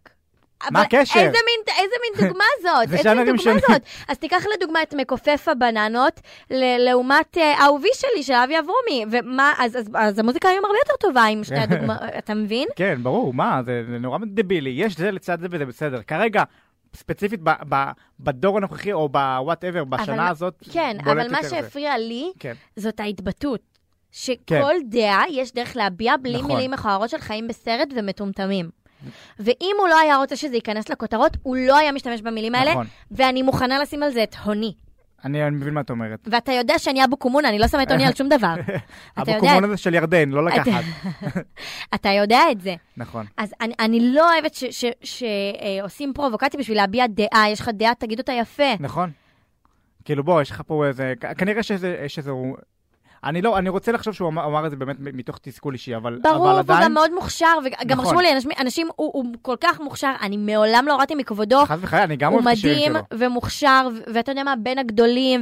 [SPEAKER 2] אבל
[SPEAKER 1] הקשר?
[SPEAKER 2] איזה מין, איזה מין
[SPEAKER 1] [LAUGHS]
[SPEAKER 2] דוגמה זאת?
[SPEAKER 1] זה
[SPEAKER 2] איזה מין
[SPEAKER 1] ז'אנרים
[SPEAKER 2] דוגמה
[SPEAKER 1] שונים.
[SPEAKER 2] זאת? אז תיקח לדוגמה את מכופף הבננות, ל- לעומת אה, האהובי שלי, של אבי אברומי. ומה, אז, אז, אז המוזיקה היום הרבה יותר טובה
[SPEAKER 1] [LAUGHS]
[SPEAKER 2] עם שתי הדוגמאות, אתה מבין?
[SPEAKER 1] כן, ברור, מה, זה, זה נורא דבילי, יש זה לצד זה וזה בסדר. כרגע, ספציפית ב, ב, בדור הנוכחי, או בוואטאבר, בשנה
[SPEAKER 2] אבל-
[SPEAKER 1] הזאת,
[SPEAKER 2] כן,
[SPEAKER 1] בולט
[SPEAKER 2] אבל מה
[SPEAKER 1] יותר זה.
[SPEAKER 2] שהפריע לי,
[SPEAKER 1] כן.
[SPEAKER 2] זאת ההתבטאות. שכל
[SPEAKER 1] כן.
[SPEAKER 2] דעה יש דרך להביע בלי
[SPEAKER 1] נכון.
[SPEAKER 2] מילים מכוערות של חיים בסרט ומטומטמים. ואם הוא לא היה רוצה שזה ייכנס לכותרות, הוא לא היה משתמש במילים האלה,
[SPEAKER 1] נכון.
[SPEAKER 2] ואני מוכנה לשים על זה את הוני.
[SPEAKER 1] אני, אני מבין מה את אומרת.
[SPEAKER 2] ואתה יודע שאני אבו קומונה, אני לא שמה את הוני על שום
[SPEAKER 1] [LAUGHS]
[SPEAKER 2] דבר. אתה יודע,
[SPEAKER 1] הבקומון הזה של ירדן, לא לקחת.
[SPEAKER 2] אתה יודע את זה.
[SPEAKER 1] נכון.
[SPEAKER 2] אז אני, אני לא אוהבת שעושים אה, פרובוקציה בשביל להביע דעה, יש לך דעה, תגיד אותה יפה.
[SPEAKER 1] נכון. כאילו בוא, יש לך פה איזה, כ- כנראה שזה, שזה הוא... אני לא, אני רוצה לחשוב שהוא אמר, אמר את זה באמת מ- מתוך תסכול אישי, אבל,
[SPEAKER 2] ברור,
[SPEAKER 1] נכון. אבל
[SPEAKER 2] הוא
[SPEAKER 1] עדיין,
[SPEAKER 2] גם מאוד מוכשר, וגם
[SPEAKER 1] נכון.
[SPEAKER 2] רשמו לי אנשים, אנשים הוא, הוא כל כך מוכשר, אני מעולם לא הורדתי מכבודו,
[SPEAKER 1] חס וחלילה, אני גם
[SPEAKER 2] הוא
[SPEAKER 1] אוהב את השירים
[SPEAKER 2] מדהים
[SPEAKER 1] שלו. נכון.
[SPEAKER 2] ומוכשר, ו- ואתה יודע מה, בין הגדולים,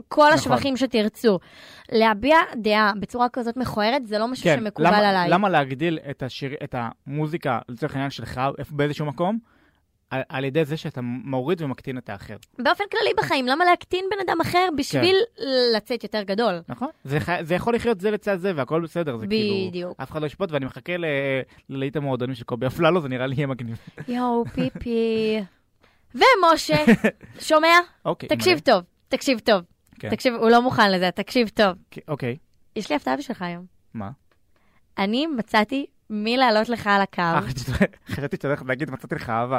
[SPEAKER 2] וכל השבחים שתרצו. להביע דעה בצורה כזאת מכוערת, זה לא משהו
[SPEAKER 1] כן,
[SPEAKER 2] שמקובל
[SPEAKER 1] למה,
[SPEAKER 2] עליי.
[SPEAKER 1] למה להגדיל את, השיר, את המוזיקה, לצורך העניין שלך, איפה- באיזשהו מקום, על, על ידי זה שאתה מוריד ומקטין את האחר,
[SPEAKER 2] באופן כללי בחיים, למה להקטין בן אדם אחר בשביל
[SPEAKER 1] כן.
[SPEAKER 2] לצאת יותר גדול?
[SPEAKER 1] נכון? זה, חי- זה יכול לחיות זה לצד זה והכל בסדר, זה כאילו...
[SPEAKER 2] בדיוק.
[SPEAKER 1] אף אחד לא ישפוט, ואני מחכה ל- ללהיט המועדונים של קובי אפללו, זה נראה לי יהיה מגניב.
[SPEAKER 2] יואו, פיפי. ומשה,
[SPEAKER 1] [LAUGHS]
[SPEAKER 2] שומע?
[SPEAKER 1] אוקיי.
[SPEAKER 2] תקשיב
[SPEAKER 1] מלא.
[SPEAKER 2] טוב, תקשיב טוב.
[SPEAKER 1] כן.
[SPEAKER 2] תקשיב, הוא לא מוכן לזה, תקשיב טוב.
[SPEAKER 1] אוקיי, אוקיי,
[SPEAKER 2] יש לי הפתעה בשבילך היום.
[SPEAKER 1] מה?
[SPEAKER 2] אני מצאתי מי לעלות לך על הקו.
[SPEAKER 1] אה, חשבתי- חשבתי שאתה הולך להגיד, מצאתי לך אהבה.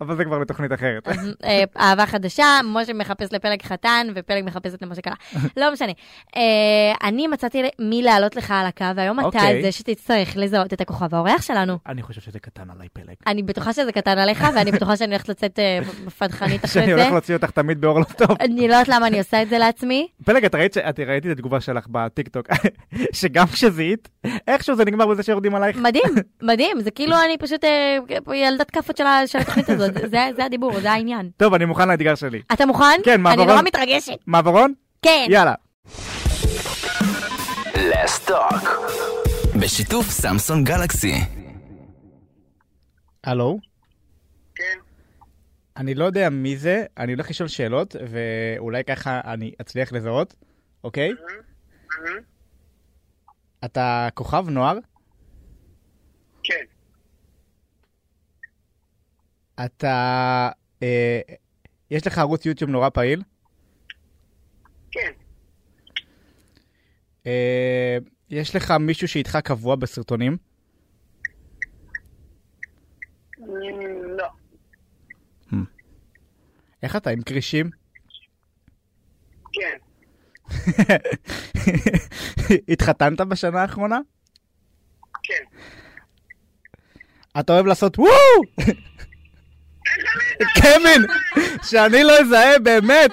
[SPEAKER 1] אבל זה כבר בתוכנית אחרת.
[SPEAKER 2] אז, אה, אהבה חדשה, משה מחפש לפלג חתן, ופלג מחפשת למשה
[SPEAKER 1] [LAUGHS]
[SPEAKER 2] קלה. לא משנה. אה, אני מצאתי ל- מי לעלות לך על הקו, והיום אתה
[SPEAKER 1] אוקיי.
[SPEAKER 2] זה שתצטרך לזהות את הכוכב האורח שלנו.
[SPEAKER 1] אני חושב שזה קטן עליי פלג.
[SPEAKER 2] אני בטוחה שזה קטן עליך,
[SPEAKER 1] [LAUGHS]
[SPEAKER 2] ואני בטוחה שאני הולכת לצאת אה, פדחנית אחרי
[SPEAKER 1] שאני
[SPEAKER 2] זה.
[SPEAKER 1] הולך להוציא אותך תמיד באור לא
[SPEAKER 2] [LAUGHS]
[SPEAKER 1] טוב.
[SPEAKER 2] אני לא יודעת למה אני עושה את
[SPEAKER 1] [LAUGHS]
[SPEAKER 2] זה לעצמי.
[SPEAKER 1] פלג, את ראית ש- את ראיתי את התגובה שלך בטיקטוק, [LAUGHS] שגם כשזיהית, איכשהו זה נגמר בזה שיורדים עלייך.
[SPEAKER 2] מדהים, מדהים, זה כאילו אני פשוט אה, ילדת כאפות של ה- של התוכנית
[SPEAKER 1] [LAUGHS]
[SPEAKER 2] הזאת, זה- זה הדיבור, זה העניין.
[SPEAKER 1] טוב, אני מוכן לאתגר שלי.
[SPEAKER 2] אתה מוכן?
[SPEAKER 1] כן,
[SPEAKER 2] אני
[SPEAKER 1] מעברון.
[SPEAKER 2] נורא מתרגשת.
[SPEAKER 1] מעברון?
[SPEAKER 2] כן.
[SPEAKER 1] יאללה.
[SPEAKER 3] בשיתוף סמסון גלקסי.
[SPEAKER 1] הלו?
[SPEAKER 4] כן,
[SPEAKER 1] אני לא יודע מי זה, אני הולך לשאול שאלות, ואולי ככה אני אצליח לזהות, אוקיי?
[SPEAKER 4] מהמם.
[SPEAKER 1] אתה כוכב נוער,
[SPEAKER 4] כן,
[SPEAKER 1] אתה... אה, יש לך ערוץ יוטיוב נורא פעיל,
[SPEAKER 4] כן,
[SPEAKER 1] אה, יש לך מישהו שאיתך קבוע בסרטונים?
[SPEAKER 4] אמ, לא,
[SPEAKER 1] איך אתה, עם כרישים?
[SPEAKER 4] כן,
[SPEAKER 1] [LAUGHS] התחתנת בשנה האחרונה?
[SPEAKER 4] כן.
[SPEAKER 1] אתה אוהב לעשות וואו! קווין, שאני לא אזהה באמת.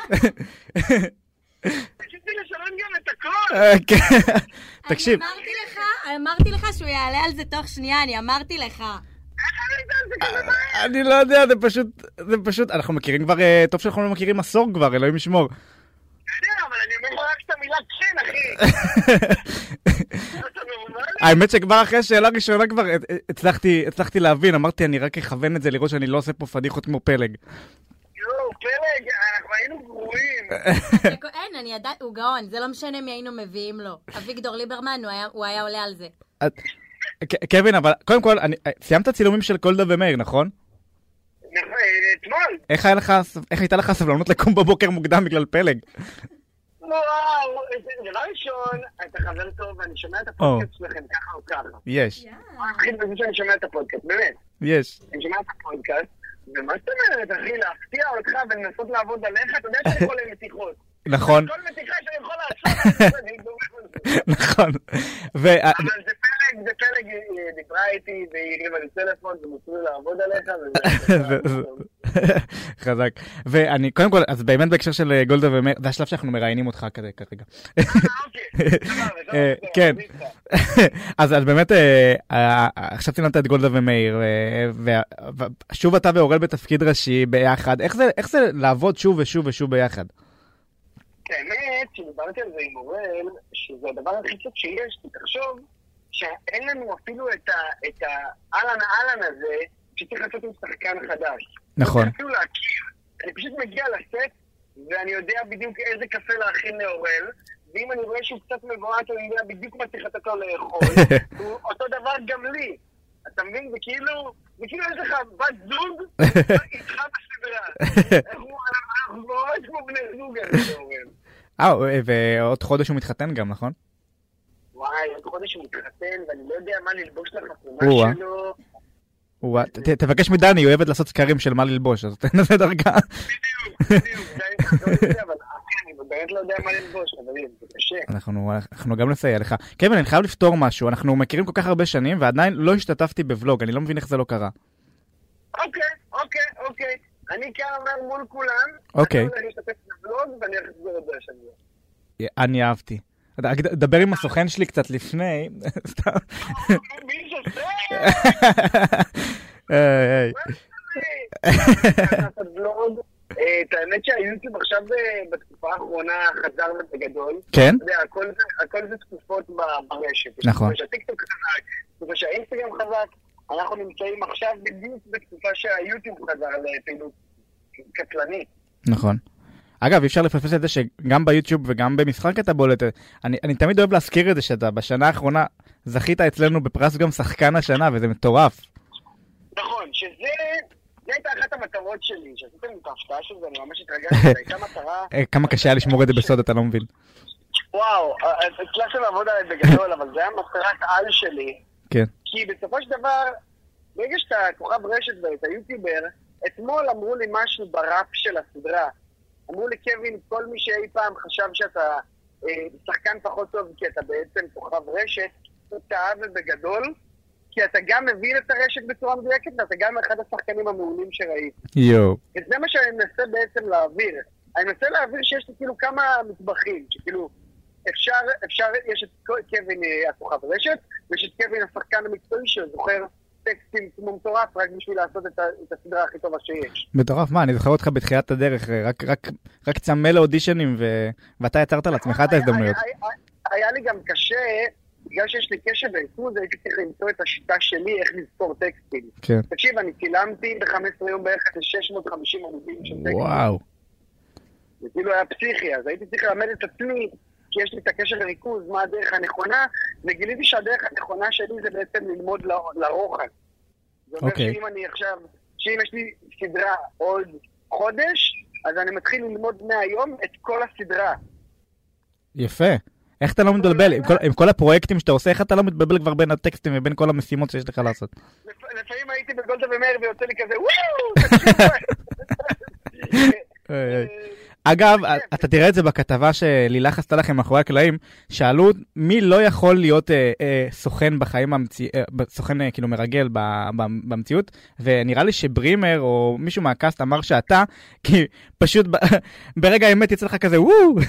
[SPEAKER 4] רציתי לשנות גם את הכל.
[SPEAKER 1] אה, כן. תקשיב,
[SPEAKER 2] אני אמרתי לך, אמרתי לך שהוא יעלה על זה תוך שנייה, אני אמרתי לך.
[SPEAKER 1] אני לא יודע, זה פשוט, זה פשוט, אנחנו מכירים כבר, אה, טוב שאנחנו לא מכירים עשור כבר, אלוהים ישמור.
[SPEAKER 4] בסדר, אבל אני אומר לך רק את המילה כן, אחי. אתה מבין?
[SPEAKER 1] האמת שכבר אחרי השאלה הראשונה כבר אה, אה, הצלחתי, הצלחתי להבין, אמרתי אני רק אכוון את זה לראות שאני לא עושה פה פדיחות כמו פלג.
[SPEAKER 4] יואו, פלג, אנחנו היינו גרועים.
[SPEAKER 2] אין, אני עדיין, הוא גאון, זה לא משנה מי היינו מביאים לו. אביגדור ליברמן, הוא היה- הוא היה עולה על זה.
[SPEAKER 1] את- ק- קווין, אבל קודם כל, אני- אה, סיימת צילומים של קולדה ומאיר, נכון?
[SPEAKER 4] אה, אתמול?
[SPEAKER 1] איך היה לך, איך הייתה לך הסבלנות לקום בבוקר מוקדם בגלל פלג?
[SPEAKER 4] וואו, איזה- דבר ראשון, אתה חבר טוב, ואני שומע את הפודקאסט שלכם ככה או ככה.
[SPEAKER 1] יש,
[SPEAKER 4] התחיל בזה שאני שומע את הפודקאסט, באמת.
[SPEAKER 1] יש.
[SPEAKER 4] אני שומע את הפודקאסט, ומה זאת אומרת, אחי, להפתיע אותך ולנסות לעבוד עליך, אתה יודע שאני יכול למתיחות.
[SPEAKER 1] נכון, [LAUGHS]
[SPEAKER 4] כל מתיחה שאני יכול לעשות, אני דורך על זה.
[SPEAKER 1] נכון. ו-
[SPEAKER 4] אבל זה פלג, זה פלג, היא היא דיברה איתי, והיא הרימה לי טלפון, וניסו לעבוד עליך, וזה...
[SPEAKER 1] [LAUGHS] זה- זה- חזק. ואני, קודם כל, אז באמת בהקשר של אה, גולדה ומאיר, זה השלב שאנחנו מראיינים אותך כזה כרגע.
[SPEAKER 4] אה, אוקיי,
[SPEAKER 1] [LAUGHS]
[SPEAKER 4] סבבה, סבבה,
[SPEAKER 1] אה,
[SPEAKER 4] סבבה,
[SPEAKER 1] כן.
[SPEAKER 4] אני איתך.
[SPEAKER 1] [LAUGHS] אז אז באמת, אה, אה, עכשיו ציינת את גולדה ומאיר, אה, ו- ו- שוב אתה ואורל בתפקיד ראשי ביחד. איך זה- איך זה לעבוד שוב ושוב ושוב ביחד?
[SPEAKER 4] האמת, שדיברתי על זה עם אוראל, שזה הדבר הכי טוב שיש, כי תחשוב שאין לנו אפילו את ה- את האהלן אהלן הזה, שצריך לעשות עם שחקן חדש.
[SPEAKER 1] נכון.
[SPEAKER 4] אפילו להכיר. אני פשוט מגיע לסט, ואני יודע בדיוק איזה קפה להכין לאורל, ואם אני רואה שהוא קצת מבועת, אני יודע בדיוק מה צריך לתת לו לאכול. הוא אותו דבר גם לי. אתה מבין? זה כאילו, זה כאילו יש לך בת זוג איתך בסדרה. אנחנו אנחנו ממש כמו בני זוג, אני אומר.
[SPEAKER 1] אה, אה, ועוד חודש הוא מתחתן גם, נכון?
[SPEAKER 4] וואי, עוד חודש הוא מתחתן, ואני לא יודע מה ללבוש לחתונה
[SPEAKER 1] או-אה.
[SPEAKER 4] שלו.
[SPEAKER 1] הוא- אה, ת- ת- תבקש מדני, היא אוהבת לעשות סקרים של מה ללבוש, אז [LAUGHS] תן לזה דרכה.
[SPEAKER 4] בדיוק, בדיוק. זה- לא יודע, אבל אחי, אני באמת לא יודע מה ללבוש, חברים, זה קשה.
[SPEAKER 1] אנחנו, אה, אנחנו גם נסייע לך. קווין, אני חייב לפתור משהו, אנחנו מכירים כל כך הרבה שנים ועדיין לא השתתפתי בוולוג, אני לא מבין איך זה לא קרה.
[SPEAKER 4] אוקיי, אוקיי, אוקיי. אני כאן אומר מול כולם.
[SPEAKER 1] אוקיי.
[SPEAKER 4] אני הולך להשתתף בבלוג ואני אחזור את זה
[SPEAKER 1] [LAUGHS]
[SPEAKER 4] השבוע.
[SPEAKER 1] אה, אני אהבתי. רק ד- דבר עם הסוכן שלי קצת לפני, [LAUGHS] סתם.
[SPEAKER 4] מי שזה?
[SPEAKER 1] היי, [LAUGHS] היי.
[SPEAKER 4] לעשות בלוג. אה, את האמת שהיוטיוב עכשיו אה, בתקופה האחרונה חזר בגדול.
[SPEAKER 1] כן?
[SPEAKER 4] אתה יודע, הכל זה- הכל זה תקופות ב- ברשת. יש
[SPEAKER 1] נכון.
[SPEAKER 4] תקופה שהטיקטוק חזק, תקופה שהאינסטגרם חזק. אנחנו נמצאים עכשיו בדיוק בתקופה שהיוטיוב חזר לפעילות קטלנית.
[SPEAKER 1] נכון. אגב, אי אפשר לפספס את זה שגם ביוטיוב וגם במשחק אתה בולט. אני, אני תמיד אוהב להזכיר את זה שאתה בשנה האחרונה זכית אצלנו בפרס גם שחקן השנה, וזה מטורף.
[SPEAKER 4] נכון, שזה... זו הייתה אחת המטרות שלי, שעשיתם את ההפתעה של זה, אני ממש התרגשתי, זו הייתה מטרה...
[SPEAKER 1] אה, כמה קשה היה לשמור את זה בסוד, אתה לא מבין.
[SPEAKER 4] וואו, אה, הצלחתם לעבוד עליי בגדול, אבל זו הייתה מטרת על שלי,
[SPEAKER 1] כן.
[SPEAKER 4] כי בסופו של דבר, ברגע שאתה כוכב רשת ואתה יוטיובר, אתמול אמרו לי משהו בראפ של הסדרה. אמרו לי, קווין, כל מי שאי פעם חשב שאתה אה, שחקן פחות טוב כי אתה בעצם כוכב רשת, הוא טעה ובגדול, כי אתה גם מבין את הרשת בצורה מדויקת ואתה גם אחד השחקנים המעולים שראיתי.
[SPEAKER 1] יואו.
[SPEAKER 4] וזה מה שאני מנסה בעצם להעביר. אני מנסה להעביר שיש לי כאילו כמה מטבחים, שכאילו אפשר, אפשר, יש את כל- קווין אה, הכוכב רשת, ויש את קווין השחקן המקצועי שזוכר טקסטים כמו מטורף רק בשביל לעשות את, ה- את הסדרה הכי טובה שיש.
[SPEAKER 1] מטורף, מה, אני זוכר אותך בתחילת הדרך, אה, רק, רק, רק צמא לאודישנים, ו... ואתה יצרת לעצמך את
[SPEAKER 4] היה-
[SPEAKER 1] ההזדמנויות.
[SPEAKER 4] היה- היה- היה לי גם קשה, בגלל שיש לי קשב וריכוז, הייתי צריך למצוא את השיטה שלי איך לזכור טקסטים.
[SPEAKER 1] כן.
[SPEAKER 4] תקשיב, אני צילמתי ב-15 יום בערך איזה 650 עמודים של טקסטים.
[SPEAKER 1] וואו.
[SPEAKER 4] זה כאילו היה פסיכי, אז הייתי צריך ללמד את עצמי, כי יש לי את הקשר לריכוז, מה הדרך הנכונה, וגיליתי שהדרך הנכונה שלי זה בעצם ללמוד ל- לרוחב. זה אומר
[SPEAKER 1] אוקיי.
[SPEAKER 4] שאם אני עכשיו, שאם יש לי סדרה עוד חודש, אז אני מתחיל ללמוד מהיום את כל הסדרה.
[SPEAKER 1] יפה. איך אתה לא מתבלבל? עם כל, עם כל הפרויקטים שאתה עושה, איך אתה לא מתבלבל כבר בין הטקסטים ובין כל המשימות שיש לך לעשות?
[SPEAKER 4] לפ- לפעמים הייתי בגולדה ומאיר ויוצא לי כזה, וואו! אה, תקשיבו."
[SPEAKER 1] איי,
[SPEAKER 4] אה.
[SPEAKER 1] איי. אה, אגב, אה, אתה תראה את זה בכתבה שלילך עשתה לכם מאחורי הקלעים, שאלו מי לא יכול להיות אה, אה, סוכן בחיים, המציא, אה, ב- סוכן אה, כאילו מרגל ב, ב, במציאות, ונראה לי שברימר או מישהו מהקאסט אמר שאתה, כי פשוט ב, [LAUGHS] ברגע האמת יצא לך כזה וואו, [LAUGHS]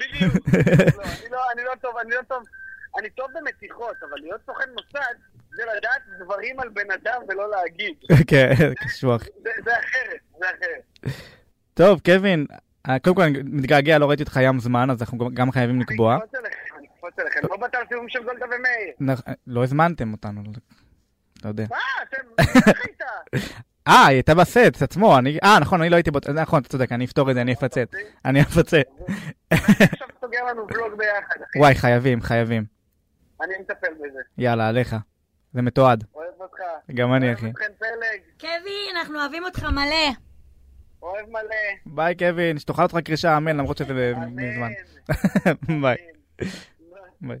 [SPEAKER 4] בדיוק. לא, אני לא- אני לא טוב, אני לא טוב. אני טוב במתיחות, אבל להיות סוכן מוסד זה לדעת דברים על בן אדם ולא להגיד.
[SPEAKER 1] כן, קשוח.
[SPEAKER 4] זה זה אחרת, זה אחרת.
[SPEAKER 1] טוב, קווין, אה, קודם כל אני מתגעגע, לא ראיתי אותך ים זמן, אז אנחנו גם- גם חייבים לקבוע.
[SPEAKER 4] אני אקפוץ עליכם, אני אקפוץ עליכם. כמו בתל סיבוב של גולדה ומאיר.
[SPEAKER 1] נכ- לא הזמנתם אותנו, אתה יודע.
[SPEAKER 4] מה,
[SPEAKER 1] [LAUGHS]
[SPEAKER 4] אתם... איך הייתה?
[SPEAKER 1] אה, היא הייתה בסט עצמו, אני... אה, נכון, אני לא הייתי בו... נכון, אתה צודק, אני אפתור את זה, אני אפצת. אני אפצת.
[SPEAKER 4] עכשיו סוגר לנו בלוג ביחד, אחי.
[SPEAKER 1] וואי, חייבים, חייבים.
[SPEAKER 4] אני מטפל בזה.
[SPEAKER 1] יאללה, עליך. זה מתועד.
[SPEAKER 4] אוהב אותך.
[SPEAKER 1] גם אני,
[SPEAKER 4] אוהב
[SPEAKER 1] אחי.
[SPEAKER 4] אתכם פלג,
[SPEAKER 2] קווין, אנחנו אוהבים אותך מלא.
[SPEAKER 4] אוהב מלא.
[SPEAKER 1] ביי, קווין, שתאכל אותך קרישה, אמן, למרות שזה ב- מזמן.
[SPEAKER 4] אמן.
[SPEAKER 1] ביי. ביי.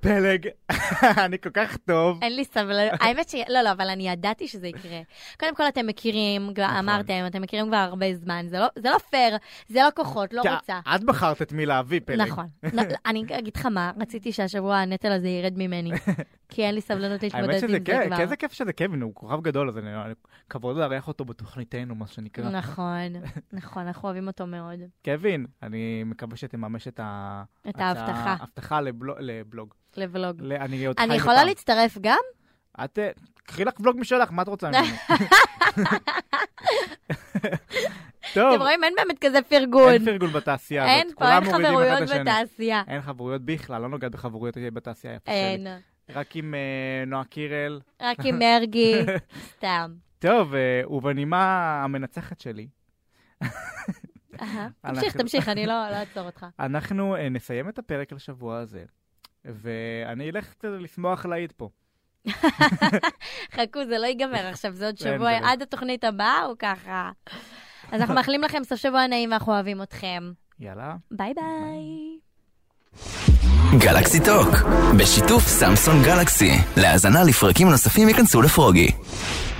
[SPEAKER 1] פלג, [LAUGHS] אני כל כך טוב.
[SPEAKER 2] אין לי סבלנות. האמת ש... לא, לא, אבל אני ידעתי שזה יקרה. קודם כל, אתם מכירים, כבר
[SPEAKER 1] נכון.
[SPEAKER 2] אמרתם, אתם מכירים כבר הרבה זמן. זה לא- זה לא פייר, זה לא כוחות, לא
[SPEAKER 1] כי
[SPEAKER 2] רוצה.
[SPEAKER 1] את בחרת את מי להביא, פלג.
[SPEAKER 2] נכון. לא, לא, אני אגיד לך מה, רציתי שהשבוע הנטל הזה ירד ממני.
[SPEAKER 1] [LAUGHS]
[SPEAKER 2] כי אין לי
[SPEAKER 1] האמת
[SPEAKER 2] סבלנות להתמודד
[SPEAKER 1] שזה כן,
[SPEAKER 2] עם זה
[SPEAKER 1] כיף,
[SPEAKER 2] כבר.
[SPEAKER 1] איזה כיף שזה קווין, הוא כוכב גדול, אז אני- אני- כבוד לארח אותו בתוכניתנו, מה שנקרא.
[SPEAKER 2] נכון, נכון, אנחנו אוהבים אותו מאוד.
[SPEAKER 1] קווין, אני מקווה שתממש את ה...
[SPEAKER 2] את ההבטחה
[SPEAKER 1] הבטחה לבלוג.
[SPEAKER 2] לבלוג.
[SPEAKER 1] ל- אני עוד חי
[SPEAKER 2] אני
[SPEAKER 1] מפעם.
[SPEAKER 2] יכולה להצטרף גם?
[SPEAKER 1] את, אה, קחי לך בלוג משלך, מה את רוצה
[SPEAKER 2] [LAUGHS]
[SPEAKER 1] ממנו? טוב,
[SPEAKER 2] אתם רואים, אין באמת כזה
[SPEAKER 1] אין
[SPEAKER 2] פרגון.
[SPEAKER 1] פרגול בתעשייה הזאת.
[SPEAKER 2] אין פה,
[SPEAKER 1] כולם
[SPEAKER 2] אין
[SPEAKER 1] מורידים אחד
[SPEAKER 2] חברויות
[SPEAKER 1] את השני.
[SPEAKER 2] בתעשייה.
[SPEAKER 1] אין חברויות בכלל, לא נוגעת בחברויות בתעשייה איפה
[SPEAKER 2] אין.
[SPEAKER 1] שלי. רק עם אה, נועה קירל.
[SPEAKER 2] [LAUGHS] רק עם
[SPEAKER 1] [LAUGHS]
[SPEAKER 2] מרגי, סתם.
[SPEAKER 1] טוב, אה, ובנימה המנצחת שלי,
[SPEAKER 2] אהה.
[SPEAKER 1] אנחנו-
[SPEAKER 2] תמשיך, תמשיך, אני לא לא אעצור אותך.
[SPEAKER 1] אנחנו אה, נסיים את הפרק לשבוע הזה, ואני אלך קצת לשמוח להעיד פה.
[SPEAKER 2] חכו, זה לא ייגמר עכשיו, זה עוד
[SPEAKER 1] אין,
[SPEAKER 2] שבוע,
[SPEAKER 1] זה לא.
[SPEAKER 2] עד התוכנית הבאה הוא ככה. אז אנחנו מאחלים לכם סוף שבוע נעים, ואנחנו אוהבים אתכם.
[SPEAKER 1] יאללה.
[SPEAKER 2] ביי ביי.
[SPEAKER 3] גלקסי טוק, בשיתוף סמסון גלקסי. להאזנה לפרקים נוספים ייכנסו לפרוגי.